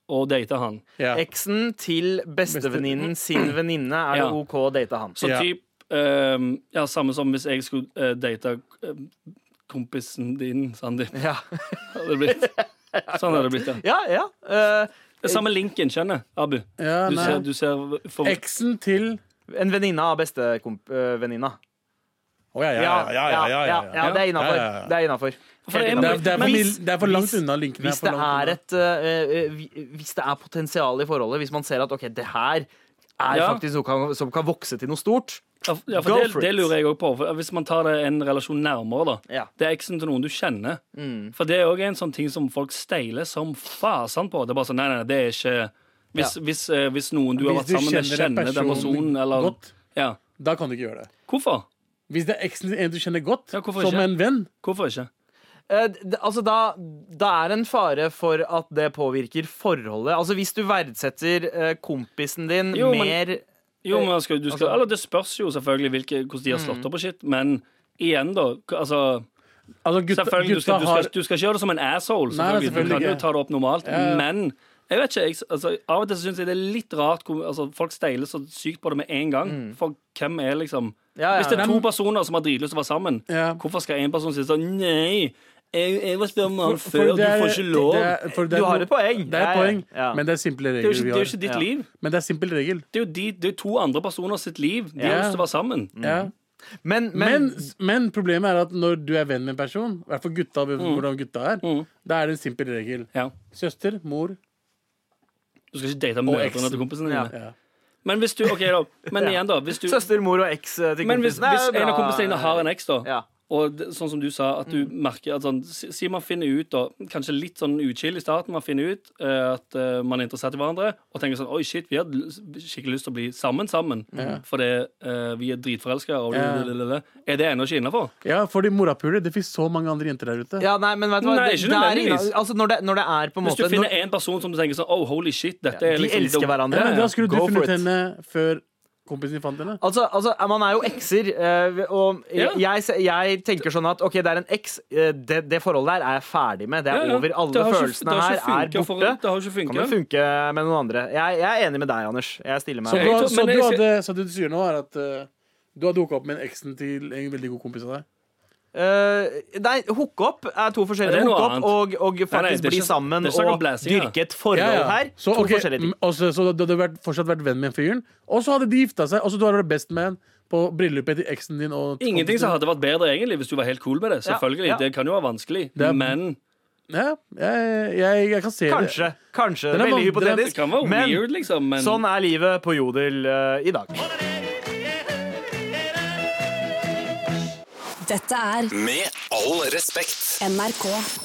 å date han? Ja. Eksen til bestevenninnen sin venninne. Er det Ja. OK å date han? Så Ja. typ ehm, Ja, samme som hvis jeg skulle eh, date ehm, kompisen din, Sandeep. Ja, Hadde det blitt. Sånn hadde det blitt, ja. ja. ja. Eh, Samme linken, kjenner jeg, Abu. Ja, Du nei. ser, du ser for, Eksen til en venninne av bestevenninna. Å ja, ja, ja, ja, ja, ja, ja. ja, det er innafor. Ja, ja, ja. Det er innafor. for det er- Det er, det, er for, Men mil- det er for langt unna linken. Hvis det er et eh, eh, vi- Hvis det er potensial i forholdet, hvis man ser at OK, det her er Ja. faktisk noe kan- som kan vokse til noe stort Ja, for- ja, for Go det, for det it. lurer jeg òg på. For hvis man tar det en relasjon nærmere, da. Ja. Det er eksen til noen du kjenner. Mm. For det er òg en sånn ting som folk steiler som fasen på. Det er bare sånn, nei, nei, det er ikke Hvis, hvis, eh, hvis noen du har Hvis vært du sammen med, kjenner en kjenner den person personen, eller godt. Ja. Da kan du ikke gjøre det. Hvorfor? Hvis det er eksen til en du kjenner godt, Ja, hvorfor som ikke? en venn Hvorfor ikke? Eh, d- Altså, da, da er en fare for at det påvirker forholdet. Altså, hvis du verdsetter eh, kompisen din Jo, men- mer Jo, Eh, men skal, du skal, Altså- eller Det spørs jo selvfølgelig hvilke, hvordan de har Mm. slått opp og shit, men igjen, da. k- Altså, altså, gutta, selvfølgelig, du gutta skal, du, har skal, du skal ikke gjøre det som en asshole, Nei, selvfølgelig. selvfølgelig du kan ikke. jo ta det opp normalt, ja. men jeg vet ikke, jeg, altså, av og til syns jeg det er litt rart hvor altså, folk steiler så sykt på det med en gang. Mm. For hvem er liksom Ja, ja, Hvis det er ja. to personer som har dritlyst til å være sammen, Ja. hvorfor skal en person si sånn Nei, jeg, jeg var spørre om han For- før, for og du det er- får ikke lov. det Det er- for det er Du har no- et poeng. Det er Ja, et ja, poeng, ja. men det er simple er jo regler ikke, vi det er jo ikke har. ditt Ja. liv. Men det er simpel regel. Det er jo de, det er jo to andre personer sitt liv. De har Ja. lyst til å være sammen. Ja. Men, men, Men, men problemet er at når du er venn med en person, i hvert fall gutta, vet hvordan gutta er, da er det en simpel regel. Mm. Ja. Søster, mor Du skal ikke date mødrene eksen. til kompisene Ja. dine. Men hvis du, ok da, men igjen da hvis du, søster, mor og eks eh, til Men hvis, kompisen er hvis en bra. av kompisene dine har en eks, da, Ja. Mm. Og det, sånn som du sa, at du merker at sånn, Si si man finner ut, da, kanskje litt sånn uchill i starten, man finner ut eh, at eh, man er interessert i hverandre, og tenker sånn Oi, shit, vi har l- skikkelig lyst til å bli sammen sammen, fordi eh, vi er dritforelska, og Ja. lille. Er det ennå ikke innafor? Ja, fordi morapuler, det finnes så mange andre jenter der ute. Ja, nei, men vet du hva? Nei, det, ikke det er nødvendigvis. inna- altså, når, det, når det er på en Hvis du måte finner når, en person som du tenker sånn Oh, holy shit, dette er De liksom elsker hverandre. Ja, men da skulle du Go for it. funnet henne før kompisen din fant henne. Altså, altså, man er jo ekser, eh, og Ja. jeg, jeg tenker sånn at OK, det er en eks. eh, Det, det forholdet der er jeg ferdig med. Det er Ja, ja. over. Alle Det har ikke- følelsene det har her ikke er funket for- borte. det har ikke kan funket. jo funke med noen andre. Jeg, jeg er enig med deg, Anders. Jeg stiller Så meg du, Jeg har- tror- så men du jeg- hadde, så det du sier nå, er at eh, du har dukka opp med en eksen til en veldig god kompis av deg? Eh, Nei, hooke opp er to forskjellige. Det er noe Hooke opp annet. og, og faktisk Nei, nei, det er bli ikke- sammen det er snakk om og blæsing, ja. dyrke et forhold her. Så, to ok, forskjellige ting. mm, og så- så du hadde vært, fortsatt vært venn med en fyren, og så hadde de gifta seg, og så du hadde vært best man på bryllupet til eksen din og Ingenting som hadde vært bedre egentlig hvis du var helt cool med det. Ja, Selvfølgelig, ja. Det kan jo være vanskelig, Det er- men Ja, jeg, jeg, jeg kan se det. Kanskje. kanskje, Den er Veldig van- den er- det hypotetisk. kan være Men weird, liksom. Men sånn er livet på Jodel eh, i dag. Dette er Med all respekt. NRK.